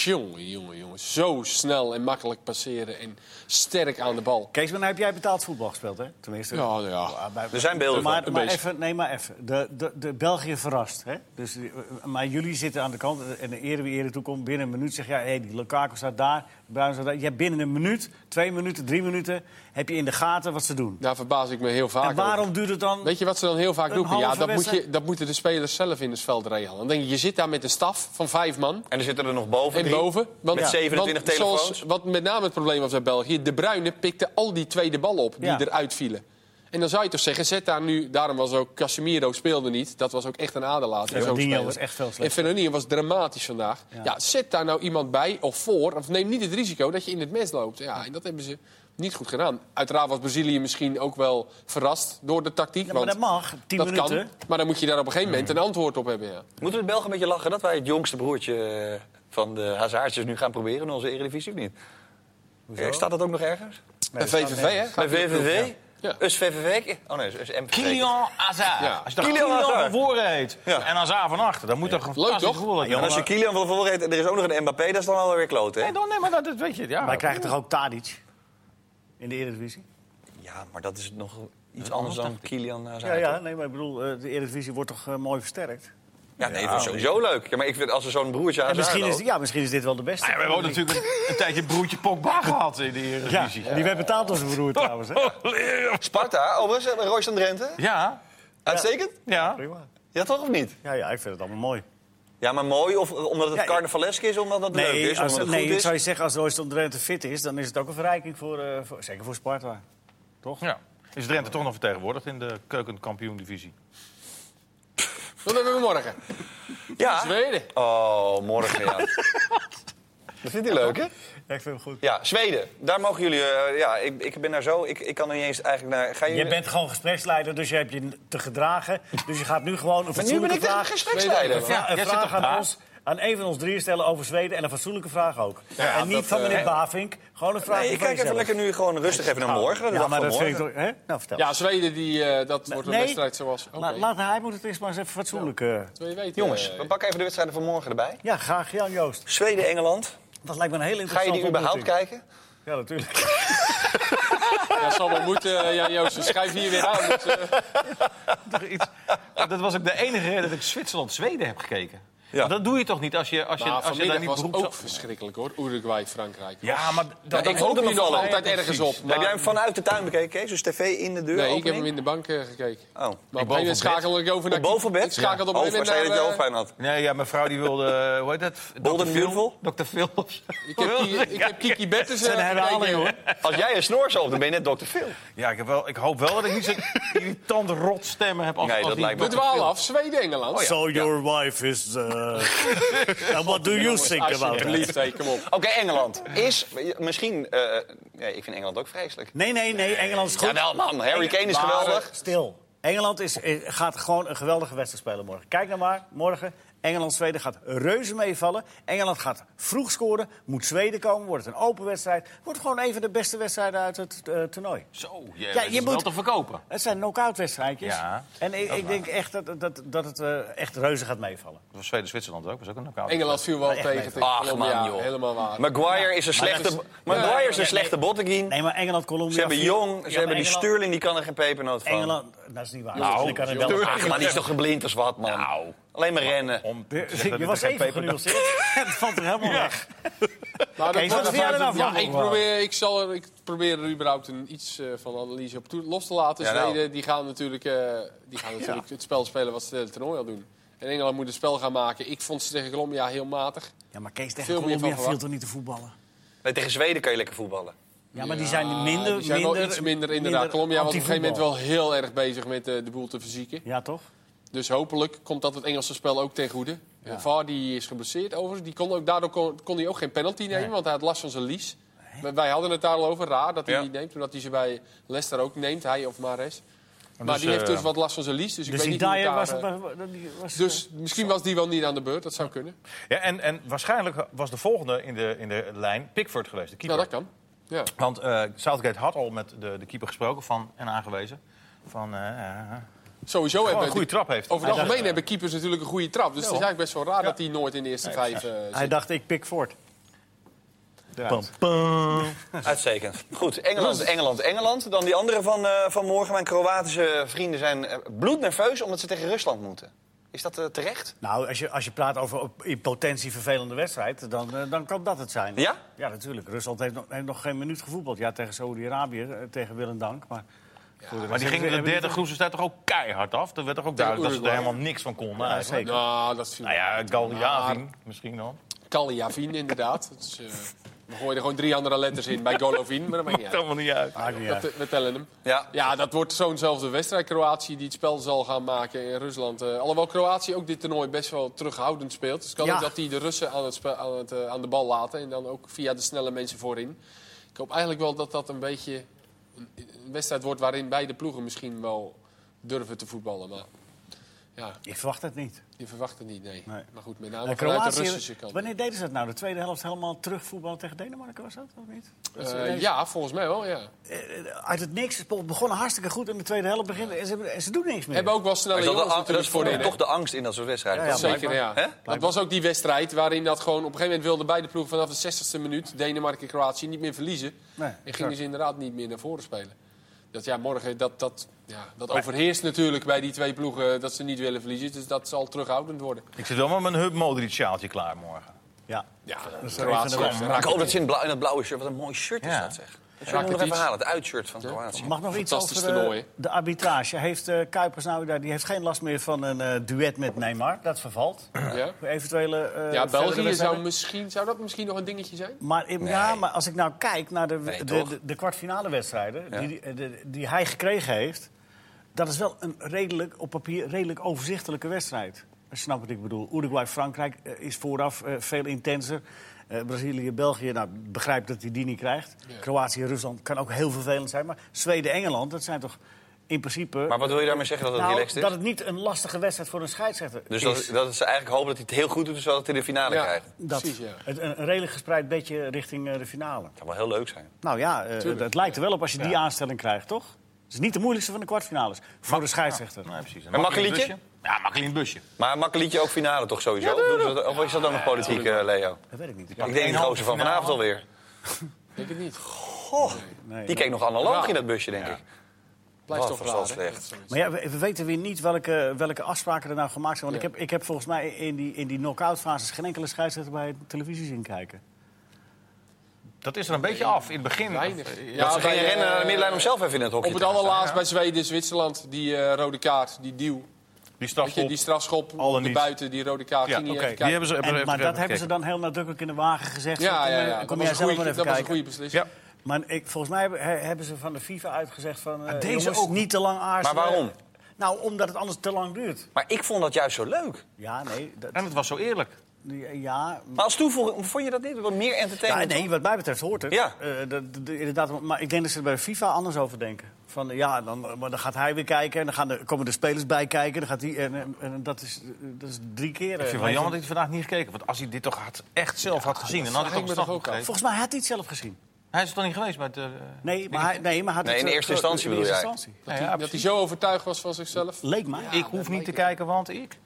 Speaker 4: Jongen, jongen, jongen. Zo snel en makkelijk passeren en sterk aan de bal.
Speaker 3: Kees, maar nou heb jij betaald voetbal gespeeld, hè? Tenminste. eh,
Speaker 4: Ja, ja.
Speaker 3: bij-
Speaker 1: Er zijn beelden van.
Speaker 3: Maar,
Speaker 4: Een
Speaker 3: maar
Speaker 4: beetje.
Speaker 3: even, nee, maar even. De, de, de België verrast, hè? Dus, die- maar jullie zitten aan de kant. eh, En de ere wie ere toekomt, binnen een minuut zeg je... Ja, hey, die Lukaku staat daar, Bruin staat daar. Je hebt binnen een minuut, twee minuten, drie minuten... heb je in de gaten wat ze doen.
Speaker 4: Daar verbaas ik me heel vaak
Speaker 3: En waarom
Speaker 4: over.
Speaker 3: duurt het dan...
Speaker 4: Weet je wat ze dan heel vaak
Speaker 3: Een
Speaker 4: roepen? Ja,
Speaker 3: halve
Speaker 4: dat, moet
Speaker 3: wedstrijd?
Speaker 4: je, dat moeten de spelers zelf in het veld regelen. Dan denk je, je zit daar met een staf van vijf man.
Speaker 1: En er zitten er nog boven.
Speaker 4: En
Speaker 1: drie.
Speaker 4: boven.
Speaker 1: Met 27
Speaker 4: want
Speaker 1: telefoons.
Speaker 4: Zoals, wat met name het probleem was bij België. De Bruyne pikte al die tweede ballen op die
Speaker 3: Ja.
Speaker 4: eruit vielen. En dan zou je toch zeggen, zet daar nu... Daarom was ook Casemiro speelde niet. Dat was ook echt een aderlating.
Speaker 3: En
Speaker 4: zo'n
Speaker 3: Fernandinho
Speaker 4: speler.
Speaker 3: was echt veel
Speaker 4: En
Speaker 3: slechter.
Speaker 4: Fernandinho was dramatisch vandaag. Ja. zet daar nou iemand bij of voor. Of neem niet het risico dat je in het mes loopt. Ja, en dat hebben ze niet goed gedaan. Uiteraard was Brazilië misschien ook wel verrast door de tactiek.
Speaker 3: Ja, maar
Speaker 4: want
Speaker 3: dat mag, tien
Speaker 4: dat
Speaker 3: minuten. Mm.
Speaker 4: kan. Maar dan moet je daar op een gegeven moment een antwoord op hebben. Ja.
Speaker 1: Moeten we de Belgen een beetje lachen dat wij het jongste broertje eh, van de Hazardjes nu gaan proberen in onze Eredivisie of niet? Eh, Staat dat ook nog ergens?
Speaker 4: Bij VVV, hè?
Speaker 1: Bij VVV?
Speaker 4: Ja.
Speaker 1: Us VVV? Oh nee, Us MVV.
Speaker 2: Kylian Hazard.
Speaker 4: Ja.
Speaker 2: Als je dat
Speaker 1: Kylian
Speaker 2: Kylian
Speaker 1: Hazard.
Speaker 2: van voren heet
Speaker 1: Ja.
Speaker 2: en Hazard van achter, dan moet dat een fantastisch
Speaker 4: toch?
Speaker 2: gevoel hebben.
Speaker 1: En als je Kylian van voren heet en er is ook nog een Mbappé, dat is dan alweer kloten, hè?
Speaker 2: Nee, dan, nee, maar dat, dat weet je. Ja.
Speaker 3: Wij krijgen toch ook Tadic in de Eredivisie?
Speaker 1: Ja, maar dat is nog iets anders dan eh, Kylian Hazard.
Speaker 3: Ja, ja, nee, maar ik bedoel, eh, de Eredivisie wordt toch eh, mooi versterkt?
Speaker 1: Ja, nee, dat is sowieso leuk. Ja, maar ik vind als er zo'n broertje
Speaker 3: En
Speaker 1: Hazard
Speaker 3: misschien is,
Speaker 1: loopt-
Speaker 3: ja, misschien is dit wel de beste.
Speaker 2: Ja, we hebben ook natuurlijk een, een tijdje broertje Pogba gehad in de
Speaker 3: Ja,
Speaker 2: Eredivisie.
Speaker 3: die werd betaald als een broer trouwens, hè?
Speaker 1: Oh, Sparta, overigens, eh, Royce en Drenthe.
Speaker 2: Ja,
Speaker 1: Uitstekend?
Speaker 2: ja.
Speaker 3: Prima.
Speaker 1: Ja, toch of niet?
Speaker 3: Ja, ja, ik vind het allemaal mooi.
Speaker 1: Ja, maar mooi, of eh, omdat het
Speaker 3: Ja, ja.
Speaker 1: carnavalesk is, omdat het leuk is,
Speaker 3: Nee, als,
Speaker 1: omdat het
Speaker 3: nee
Speaker 1: goed
Speaker 3: ik
Speaker 1: is.
Speaker 3: zou je zeggen, als Royston Drenthe fit is, dan is het ook een verrijking voor, eh, voor zeker voor Sparta. Toch?
Speaker 2: ja. Is Drenthe toch nog vertegenwoordigd in de keukenkampioen-divisie?
Speaker 4: Dat hebben we morgen.
Speaker 1: Ja.
Speaker 4: Zweden.
Speaker 1: Oh, morgen, ja. Dat vindt hij leuk, hè?
Speaker 3: Ja, ik vind hem goed.
Speaker 1: Ja, Zweden. Daar mogen jullie... eh, ja, ik, ik ben daar zo... Ik, ik kan er niet eens eigenlijk naar... Ga
Speaker 3: Je bent gewoon gespreksleider, dus je hebt je te gedragen. Dus je gaat nu gewoon een
Speaker 1: Maar nu ben
Speaker 3: fatsoenlijke
Speaker 1: ik de
Speaker 3: vraag...
Speaker 1: gespreksleider.
Speaker 4: Zweden.
Speaker 3: Ja, een
Speaker 2: Jij zit
Speaker 3: vraag
Speaker 2: toch na?
Speaker 3: aan ons, aan een van ons drieën stellen over Zweden en een fatsoenlijke vraag ook. en niet
Speaker 4: dat,
Speaker 3: van meneer
Speaker 4: eh,
Speaker 3: Bavink, gewoon een vraag
Speaker 1: Nee,
Speaker 3: van
Speaker 1: ik kijk even
Speaker 3: jezelf.
Speaker 1: lekker nu gewoon rustig even naar morgen. de
Speaker 3: Ah, Ja,
Speaker 1: dag
Speaker 3: maar
Speaker 1: van
Speaker 3: dat vind ik
Speaker 1: morgen.
Speaker 3: toch... Hè? Nou, vertel.
Speaker 4: Ja, Zweden, die, eh, dat wordt een wedstrijd zoals... Oké.
Speaker 3: La- laat, nou, hij moet het eerst maar eens even fatsoenlijk... eh,
Speaker 4: Wil je weten,
Speaker 1: Jongens,
Speaker 4: eh,
Speaker 1: we pakken even de wedstrijden van morgen erbij.
Speaker 3: ja, graag Jan Joost.
Speaker 1: Zweden-Engeland.
Speaker 3: Dat lijkt me een heel
Speaker 1: Ga je
Speaker 3: interessante
Speaker 1: die überhaupt
Speaker 3: ontmoeting.
Speaker 1: kijken?
Speaker 3: Ja, natuurlijk.
Speaker 4: dat zal wel moeten, eh, Jan Joosten. Schrijf hier weer aan. want, eh,
Speaker 2: Toch iets- Dat was ook de enige reden dat ik Zwitserland-Zweden heb gekeken.
Speaker 1: Ja.
Speaker 2: Want Dat doe je toch niet als je, als je,
Speaker 4: maar
Speaker 2: als je daar
Speaker 4: Nou, vanmiddag
Speaker 2: niet
Speaker 4: was
Speaker 2: beroeps-
Speaker 4: ook verschrikkelijk, hoor. Uruguay, Frankrijk.
Speaker 2: Ja, maar dat,
Speaker 4: ik hoop
Speaker 1: hoop
Speaker 4: er
Speaker 1: ik
Speaker 4: nog
Speaker 1: nog wel.
Speaker 4: altijd ergens op.
Speaker 1: Heb
Speaker 4: maar-
Speaker 1: jij hem vanuit de tuin bekeken, Kees? Dus tv in de deur?
Speaker 4: Nee, ik heb
Speaker 1: opening?
Speaker 4: hem in de bank eh, gekeken.
Speaker 1: Oh.
Speaker 4: Maar op
Speaker 2: boven
Speaker 4: een
Speaker 2: bed?
Speaker 4: schakel ik over naar...
Speaker 1: Op bovenbed?
Speaker 4: Ik schakel op
Speaker 1: Oh,
Speaker 4: een gegeven
Speaker 1: waar zei je dat
Speaker 4: moment
Speaker 1: je
Speaker 4: naar... eh,
Speaker 1: hoofdpijn had?
Speaker 2: Nee, ja, mijn vrouw die wilde... eh, Hoe heet dat?
Speaker 1: Bolden
Speaker 2: Dr. Phil?
Speaker 1: Beautiful?
Speaker 2: Dr. Phil. of zo.
Speaker 4: Ik heb, Ki- ik heb Kiki Bettens eh,
Speaker 3: Zijn herhaling,
Speaker 4: gekeken,
Speaker 3: hoor.
Speaker 1: Als jij een snor zo op, dan ben je net Dr. Phil.
Speaker 2: Ja, ik, heb wel, ik hoop wel dat ik niet zo'n irritant rot stemmen heb als,
Speaker 1: Nee,
Speaker 2: als
Speaker 1: dat
Speaker 2: die
Speaker 1: lijkt me
Speaker 4: We
Speaker 2: Dr. Phil.
Speaker 4: dwalen af. Zweden-Engeland.
Speaker 3: So your wife is. Uh... And what do you think about it?
Speaker 4: Alsjeblieft, hey, kom op.
Speaker 1: Oké, Engeland. Is misschien... eh, nee, ik vind Engeland ook vreselijk.
Speaker 3: Nee, nee, nee. Engeland is goed.
Speaker 1: Jawel, man. Harry Kane nou, is
Speaker 3: Maar,
Speaker 1: geweldig.
Speaker 3: Stil. Engeland is, eh, gaat gewoon een geweldige wedstrijd spelen morgen. Kijk nou maar, morgen. Engeland, Zweden gaat reuze meevallen. Engeland gaat vroeg scoren. Moet Zweden komen. Wordt het een open wedstrijd. Wordt gewoon een van de beste wedstrijden uit het eh, toernooi.
Speaker 2: Zo, je, ja, je
Speaker 3: je
Speaker 2: moet... wel
Speaker 3: moet-
Speaker 2: te verkopen.
Speaker 3: Het zijn knock-out wedstrijdjes.
Speaker 2: Ja,
Speaker 3: en ik, ik denk echt dat, dat, dat het eh, echt reuze gaat meevallen.
Speaker 2: Dat was Zweden-Zwitserland ook. was ook een knock-out.
Speaker 4: Engeland viel wel
Speaker 3: echt
Speaker 4: tegen.
Speaker 3: niet.
Speaker 4: tegen
Speaker 1: Ach,
Speaker 4: Colombia.
Speaker 1: man, joh.
Speaker 4: Helemaal waar.
Speaker 1: Maguire is een slechte,
Speaker 4: dat
Speaker 1: Maguire is
Speaker 3: Ja,
Speaker 1: een
Speaker 3: ja,
Speaker 1: slechte botteguin.
Speaker 3: Nee, maar Engeland, Colombia...
Speaker 1: Ze hebben
Speaker 3: vier- Ja,
Speaker 1: Jong,
Speaker 3: maar
Speaker 1: ze hebben die
Speaker 3: Engeland-
Speaker 1: Sterling, die kan er geen pepernoot van.
Speaker 3: Engeland, dat is niet waar.
Speaker 2: Nou,
Speaker 3: Die kan het wel
Speaker 2: jongen.
Speaker 3: zeggen.
Speaker 1: Ach, maar die is toch geblind als wat, man.
Speaker 2: Nou.
Speaker 1: Alleen maar rennen.
Speaker 2: Om te
Speaker 3: Je-
Speaker 2: zeggen dat het
Speaker 3: Je was
Speaker 2: geen
Speaker 3: even
Speaker 2: peper-
Speaker 3: genuanceerd. Het valt er helemaal weg.
Speaker 4: Maar
Speaker 3: Kees,
Speaker 4: wordt
Speaker 3: wat
Speaker 4: een
Speaker 3: vind jij er nou
Speaker 4: vijfde-
Speaker 3: van?
Speaker 4: Ja, ik probeer, ik, zal er, ik probeer er überhaupt een, iets eh, van analyse op toe, los te laten.
Speaker 1: Ja, nou.
Speaker 4: Zweden die gaan natuurlijk, eh, die gaan natuurlijk het spel spelen wat ze het hele toernooi al doen. En Engeland moet het spel gaan maken. Ik vond ze tegen Colombia heel matig.
Speaker 3: Ja, maar Kees tegen
Speaker 4: Veel meer van
Speaker 3: Colombia viel
Speaker 4: verwacht.
Speaker 3: toch niet te voetballen?
Speaker 1: Nee, tegen Zweden kan je lekker voetballen.
Speaker 3: Ja, maar die
Speaker 4: Ja,
Speaker 3: zijn minder...
Speaker 4: die zijn
Speaker 3: minder,
Speaker 4: wel iets minder inderdaad. Colombia was op een gegeven moment
Speaker 3: anti-voetbal.
Speaker 4: wel heel erg bezig met eh, de boel te verzieken.
Speaker 3: Ja, toch?
Speaker 4: Dus hopelijk komt dat het Engelse spel ook ten goede. Eh, VAR die is geblesseerd overigens. Die kon ook, daardoor kon, kon hij ook geen penalty nemen, want hij had last van zijn lies. Wij- Wij hadden het daar al over, raar dat hij
Speaker 1: Ja.
Speaker 4: die neemt. Omdat hij ze bij Leicester ook neemt, hij of Mares. Maar
Speaker 2: dus,
Speaker 4: die
Speaker 2: eh,
Speaker 4: heeft dus wat last van zijn lies, dus ik
Speaker 3: Dus die
Speaker 4: weet niet hoe het
Speaker 3: Dyer
Speaker 4: daar...
Speaker 3: was...
Speaker 4: eh,
Speaker 3: was- die was-
Speaker 4: dus misschien was die wel niet aan de beurt, dat zou kunnen.
Speaker 2: Ja, en, en waarschijnlijk was de volgende in de, in de lijn Pickford geweest, de
Speaker 4: Nou,
Speaker 2: keeper.
Speaker 4: dat kan. Ja.
Speaker 2: Want eh, Southgate had al met de, de keeper gesproken van, en aangewezen. Van, eh, eh,
Speaker 4: Sowieso
Speaker 2: een
Speaker 4: hebben
Speaker 2: goede
Speaker 4: Oh, die-
Speaker 2: trap heeft.
Speaker 4: Over het
Speaker 3: Hij
Speaker 4: algemeen
Speaker 3: dacht,
Speaker 4: hebben keepers natuurlijk een goede trap. Dus het is eigenlijk best wel raar dat hij nooit in de eerste vijf eh,
Speaker 3: Hij
Speaker 4: zit.
Speaker 3: dacht, ik pik voort.
Speaker 1: Uitstekend. Goed, Engeland, Engeland, Engeland. Dan die andere van, eh, van morgen. Mijn Kroatische vrienden zijn eh, bloednerveus omdat ze tegen Rusland moeten. Is dat eh, terecht?
Speaker 3: Nou, als je, als je praat over op- in potentie vervelende wedstrijd, dan, eh, dan kan dat het zijn.
Speaker 1: Ja?
Speaker 3: Ja, natuurlijk. Rusland heeft nog, heeft nog geen minuut gevoetbald. Ja, tegen Saoedi-Arabië, eh, tegen Willem Dank. Maar,
Speaker 2: maar die gingen de derde groepswedstrijd toch ook keihard af? Dat werd toch ook duidelijk dat ze er
Speaker 4: Uruguay.
Speaker 2: helemaal niks van konden?
Speaker 3: Ja,
Speaker 2: eigenlijk?
Speaker 3: zeker.
Speaker 4: Nou, dat viel.
Speaker 2: Nou ja, Galjavi misschien dan.
Speaker 4: Kaljavin inderdaad. Dat is, eh, we gooien er gewoon drie andere letters in bij Golovin, maar dat maakt niet
Speaker 2: Komt
Speaker 4: uit.
Speaker 2: helemaal niet uit.
Speaker 3: Maakt niet uit.
Speaker 4: Dat, eh, we tellen hem.
Speaker 1: Ja.
Speaker 4: Ja, dat wordt zo'nzelfde wedstrijd. Kroatië die het spel zal gaan maken in Rusland. Eh, alhoewel Kroatië ook dit toernooi best wel terughoudend speelt. Dus het kan
Speaker 3: Ja.
Speaker 4: ook dat die de Russen aan, het spe- aan, het, eh, aan de bal laten. En dan ook via de snelle mensen voorin. Ik hoop eigenlijk wel dat dat een beetje een, een wedstrijd wordt... waarin beide ploegen misschien wel durven te voetballen. Maar ja,
Speaker 3: Ik verwacht het niet.
Speaker 4: je verwacht het niet, nee.
Speaker 3: Nee.
Speaker 4: Maar goed, met name
Speaker 3: Eh,
Speaker 4: vanuit de
Speaker 3: Kroatië-
Speaker 4: Russische kant.
Speaker 3: wanneer deden ze dat nou? De tweede helft helemaal terug voetballen tegen Denemarken was dat, of niet?
Speaker 4: Eh, ja, volgens mij wel, ja.
Speaker 3: Eh, Uit het niks, het begonnen hartstikke goed in de tweede helft begint en ze, hebben- en ze doen niks meer.
Speaker 4: Hebben ook wel
Speaker 1: Maar
Speaker 4: snelle
Speaker 1: is dat, de
Speaker 4: jongens
Speaker 1: ang- dat
Speaker 4: natuurlijk
Speaker 1: is voor
Speaker 4: voorin. hè?
Speaker 1: toch de angst in dat soort wedstrijden.
Speaker 3: Ja, ja,
Speaker 1: toch?
Speaker 4: Zeker, ja.
Speaker 1: Hè?
Speaker 4: Het was ook die wedstrijd waarin dat gewoon... Op een gegeven moment wilden beide ploegen vanaf de 60ste minuut... Denemarken en Kroatië niet meer verliezen.
Speaker 3: Nee,
Speaker 4: en
Speaker 3: exact.
Speaker 4: gingen ze inderdaad niet meer naar voren spelen. Dat, ja, morgen, dat, dat, ja, dat overheerst natuurlijk bij die twee ploegen dat ze niet willen verliezen. Dus dat zal terughoudend worden.
Speaker 2: Ik zit wel met mijn Hub Modric sjaaltje klaar morgen.
Speaker 3: Ja.
Speaker 4: Ja,
Speaker 3: even de wedstrijd.
Speaker 1: Ik hoop dat ze in, blauw, in dat blauwe shirt... Wat een mooi shirt is
Speaker 2: Ja.
Speaker 1: dat, zeg. Dat shirt moet ik nog even
Speaker 4: iets.
Speaker 1: halen. Het uitshirt van Kroatië.
Speaker 3: Mag nog iets
Speaker 4: Fantastisch
Speaker 3: over de,
Speaker 4: toernooi, hè?
Speaker 3: de arbitrage. Heeft eh, Kuipers nou daar, die heeft geen last meer van een eh, duet met Neymar. Dat vervalt.
Speaker 4: Ja.
Speaker 3: Voor Eventuele. eh,
Speaker 4: Ja,
Speaker 3: verdere
Speaker 4: België zou,
Speaker 3: wedstrijden.
Speaker 4: misschien, zou dat misschien nog een dingetje zijn?
Speaker 3: Maar, in- ja, maar als ik nou kijk naar de, de,
Speaker 1: toch?
Speaker 3: de, de kwartfinale wedstrijden
Speaker 1: Ja.
Speaker 3: die, die, de- die hij gekregen heeft, dat is wel een redelijk, op papier redelijk overzichtelijke wedstrijd. Als je snapt wat ik bedoel. Uruguay-Frankrijk eh, is vooraf eh, veel intenser. Eh, Brazilië-België, nou, begrijp dat hij die niet krijgt. Kroatië-Rusland kan ook heel vervelend zijn. Maar Zweden-Engeland, dat zijn toch in principe...
Speaker 1: Maar wat wil je daarmee zeggen dat het
Speaker 3: Nou,
Speaker 1: relaxed is?
Speaker 3: dat het niet een lastige wedstrijd voor een scheidsrechter
Speaker 1: dus
Speaker 3: is.
Speaker 1: dat, dat ze eigenlijk hopen dat hij het heel goed doet... zodat hij het in de finale
Speaker 4: Ja.
Speaker 1: krijgt.
Speaker 3: Dat-
Speaker 4: Precies, ja.
Speaker 3: het, een, een redelijk gespreid beetje richting eh, de finale.
Speaker 1: Dat zou wel heel leuk zijn.
Speaker 3: Nou ja, eh, het lijkt er wel op als je die aanstelling krijgt, toch? Het is niet de moeilijkste van de kwartfinales. Voor de scheidsrechter.
Speaker 4: Nou,
Speaker 2: Nee, precies.
Speaker 1: En Makkelietje?
Speaker 2: Makkelietje? Ja, makkelijk busje.
Speaker 1: Maar Makkelietje ook finale toch sowieso? Of doen ze dat- of is dat dan nog politiek, eh, Leo?
Speaker 3: Dat weet ik niet.
Speaker 1: Ik denk die
Speaker 2: één
Speaker 1: gozer van
Speaker 2: halve
Speaker 1: vanavond
Speaker 2: finale.
Speaker 1: alweer.
Speaker 4: Ik denk het niet.
Speaker 3: Nee.
Speaker 1: Oh, Die keek nog analoog in dat busje, denk ik.
Speaker 4: Blijft
Speaker 1: Wat was
Speaker 4: toch raar,
Speaker 1: dat
Speaker 4: hè?
Speaker 1: slecht.
Speaker 4: Dat is zoiets.
Speaker 3: Maar ja, we, we weten weer niet welke, welke afspraken er nou gemaakt zijn. Want
Speaker 4: Ja.
Speaker 3: ik, heb, ik heb volgens mij in die, in die knock-out fases geen enkele scheidsrechter bij televisie zien kijken.
Speaker 2: Dat is er een beetje af. In het begin.
Speaker 4: Weinig.
Speaker 2: eh,
Speaker 4: Ja,
Speaker 1: dat ze
Speaker 4: bij,
Speaker 1: gingen rennen
Speaker 4: eh,
Speaker 1: naar de middenlijn om zelf even in het hokje
Speaker 4: Op het
Speaker 1: te gaan staan.
Speaker 4: allerlaatst bij Zweden, Zwitserland, die eh, rode kaart, die duw.
Speaker 2: Die
Speaker 4: Weet je,
Speaker 2: strafschop.
Speaker 4: die strafschop,
Speaker 2: Al dan
Speaker 4: de
Speaker 2: niet.
Speaker 4: buiten, die rode kaart,
Speaker 2: Ja,
Speaker 4: ging niet
Speaker 2: oké.
Speaker 4: even
Speaker 2: Die
Speaker 4: kijken.
Speaker 2: hebben ze
Speaker 3: En-
Speaker 2: hebben ze-
Speaker 3: maar dat
Speaker 2: even
Speaker 3: hebben ze
Speaker 2: gekeken.
Speaker 3: dan heel nadrukkelijk in de wagen gezegd.
Speaker 4: Ja,
Speaker 3: Van,
Speaker 4: ja,
Speaker 3: eh,
Speaker 4: ja. Dat
Speaker 3: Kom
Speaker 4: was
Speaker 3: jij
Speaker 4: een
Speaker 3: zelf
Speaker 4: goeie-
Speaker 3: maar even
Speaker 4: dat was een goede
Speaker 3: kijken.
Speaker 4: beslissing.
Speaker 2: Ja.
Speaker 3: Maar ik, volgens mij hebben, he- hebben ze van de FIFA uitgezegd van... eh,
Speaker 2: deze
Speaker 3: jongens,
Speaker 2: ook?
Speaker 3: niet te lang aarzelen.
Speaker 1: Maar waarom?
Speaker 3: Nou, omdat het anders te lang duurt.
Speaker 1: Maar ik vond dat juist zo leuk.
Speaker 3: Ja, nee. Dat,
Speaker 2: En het was zo eerlijk.
Speaker 3: ja,
Speaker 1: Maar als toevoeging, vond je dat niet? Wat meer
Speaker 3: Ja,
Speaker 1: entertainment?
Speaker 3: nee, wat mij betreft hoort het.
Speaker 1: Ja.
Speaker 3: Eh, dat- dat- inderdaad, maar ik denk dat ze er bij FIFA anders over denken. Van eh, ja, dan, maar dan gaat hij weer kijken en dan gaan de, komen de spelers bij kijken. Dan gaat die, en, en, en dat, is, dat is drie keer.
Speaker 2: Ik
Speaker 3: eh,
Speaker 2: vind het wel jammer dat hij vandaag niet gekeken. heeft, Want als hij dit toch had, echt zelf had gezien, dan had hij
Speaker 4: vraag
Speaker 2: toch
Speaker 4: ik
Speaker 2: een
Speaker 4: me toch
Speaker 2: strafschop
Speaker 4: ook af.
Speaker 2: gegeven.
Speaker 3: Volgens mij had hij het zelf gezien.
Speaker 2: Hij is toch niet geweest bij het... eh,
Speaker 3: Nee, maar hij, nee, maar had
Speaker 1: Nee,
Speaker 3: het
Speaker 1: in
Speaker 3: zo-
Speaker 1: eerste
Speaker 3: zo-
Speaker 1: instantie
Speaker 3: in
Speaker 1: bedoel
Speaker 3: eerste
Speaker 1: jij?
Speaker 3: instantie.
Speaker 4: Dat,
Speaker 2: Ja,
Speaker 4: hij, dat hij
Speaker 2: precies.
Speaker 4: zo overtuigd was van zichzelf.
Speaker 3: Leek mij.
Speaker 2: Ik hoef niet te kijken, want ik...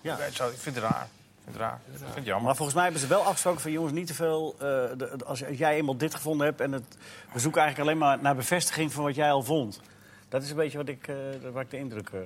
Speaker 3: Ja.
Speaker 2: Nee, zo, Ik vind het raar. Ik vind het raar. Ik vind het jammer.
Speaker 3: Maar volgens mij hebben ze wel afgesproken van jongens, niet te veel. eh, de- als als jij eenmaal dit gevonden hebt en het, we zoeken eigenlijk alleen maar naar bevestiging van wat jij al vond. Dat is een beetje wat ik, eh, waar ik de indruk. eh,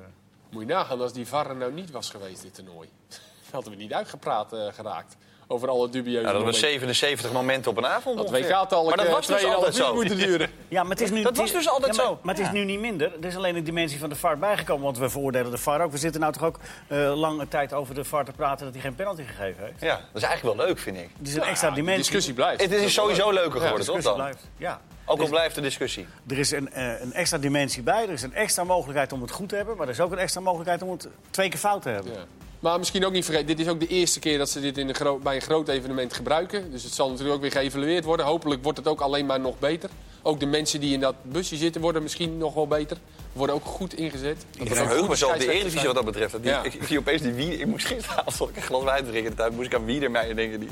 Speaker 4: Moet je nagaan als die VAR er nou niet was geweest, dit toernooi. Dan hadden we niet uitgepraat eh, geraakt. Over alle
Speaker 1: Ja,
Speaker 4: dubieuze
Speaker 1: Nou, dat was
Speaker 4: momenten.
Speaker 1: 77 momenten op een avond.
Speaker 4: Dat
Speaker 1: ongeveer.
Speaker 4: WK-tal
Speaker 1: Maar dat was dus altijd zo.
Speaker 4: eh, moeten duren.
Speaker 3: Ja, maar het is nu,
Speaker 1: Dat was dus altijd
Speaker 3: Ja, maar-
Speaker 1: zo.
Speaker 3: Maar het is nu niet minder. Er is alleen een dimensie van de VAR bijgekomen. Want we veroordelen de VAR ook. We zitten nou toch ook eh, lange tijd over de VAR te praten dat hij geen penalty gegeven heeft.
Speaker 1: Ja, dat is eigenlijk wel leuk, vind ik.
Speaker 3: Dus een extra
Speaker 4: Die
Speaker 3: dimensie.
Speaker 4: discussie blijft.
Speaker 1: Het is sowieso leuker geworden, toch
Speaker 3: Discussie
Speaker 1: dan?
Speaker 3: blijft. Ja.
Speaker 1: Ook al blijft de discussie.
Speaker 3: Er is een, eh, een extra dimensie bij. Er is een extra mogelijkheid om het goed te hebben. Maar er is ook een extra mogelijkheid om het twee keer fout te hebben.
Speaker 4: Ja. Maar misschien ook niet vergeten, dit is ook de eerste keer dat ze dit in een gro- bij een groot evenement gebruiken. Dus het zal natuurlijk ook weer geëvalueerd worden. Hopelijk wordt het ook alleen maar nog beter. Ook de mensen die in dat busje zitten worden misschien nog wel beter. Worden ook goed ingezet.
Speaker 1: Ik
Speaker 4: Ook
Speaker 1: verheug mezelf op
Speaker 4: goed
Speaker 1: de
Speaker 4: scheidsrechters
Speaker 1: Eredivisie wat dat betreft. Dat Die,
Speaker 4: Ja.
Speaker 1: Ik ik zie opeens die wie. Ik moest gisteravond zat ik een glas wijn te drinken. En daar moest ik aan wie mij denken. Die...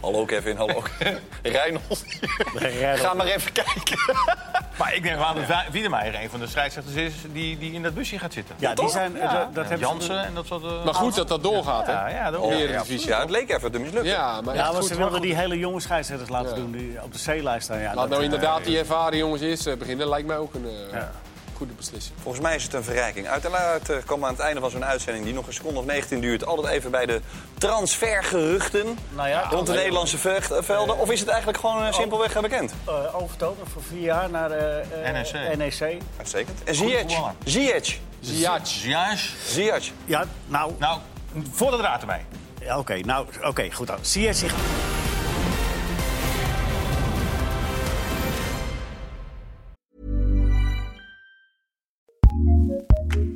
Speaker 1: hallo Kevin, hallo. Reinold. Ga maar even kijken.
Speaker 2: Maar ik denk wel dat Wa- Wiedemeijer een van de scheidsrechters is die, die in dat busje gaat zitten.
Speaker 3: Ja, die zijn, eh, dat- dat
Speaker 2: En
Speaker 3: hebben ze-
Speaker 2: Jansen en dat soort... eh,
Speaker 4: zijn. Maar goed dat dat doorgaat,
Speaker 2: Ja,
Speaker 4: hè?
Speaker 2: ja, dat
Speaker 4: Oh,
Speaker 2: ja.
Speaker 4: Eredivisie.
Speaker 1: Ja, het leek even te mislukken.
Speaker 4: Ja, maar echt
Speaker 3: Ja, maar
Speaker 4: goed.
Speaker 3: ze wilden die hele jonge scheidsrechters laten
Speaker 4: Ja.
Speaker 3: doen die op de C-lijst staan. Ja,
Speaker 4: Laat
Speaker 3: dat,
Speaker 4: nou
Speaker 3: eh,
Speaker 4: inderdaad die ervaren jongens eerst eh, beginnen. Lijkt mij ook een eh,
Speaker 3: Ja.
Speaker 4: goede beslissing.
Speaker 1: Volgens mij is het een verrijking. Uiteraard eh, komen we aan het einde van zo'n uitzending... die nog een seconde of 19 duurt... altijd even bij de transfergeruchten...
Speaker 3: Nou ja,
Speaker 1: rond de Nederlandse vecht- eh, velden. Of is het eigenlijk gewoon eh, simpelweg eh, bekend?
Speaker 3: eh, overtogen voor vier jaar naar eh, eh,
Speaker 2: NEC.
Speaker 3: NEC.
Speaker 1: Uitstekend. En Ziyech.
Speaker 2: voetballer.
Speaker 1: Ziyech.
Speaker 3: Dus-
Speaker 4: Ziyech.
Speaker 2: Ziyech.
Speaker 1: Ziyech.
Speaker 3: Ja, nou,
Speaker 2: Nou, voor de draad erbij.
Speaker 3: ja, oké, nou, oké, goed dan. Ziyech zich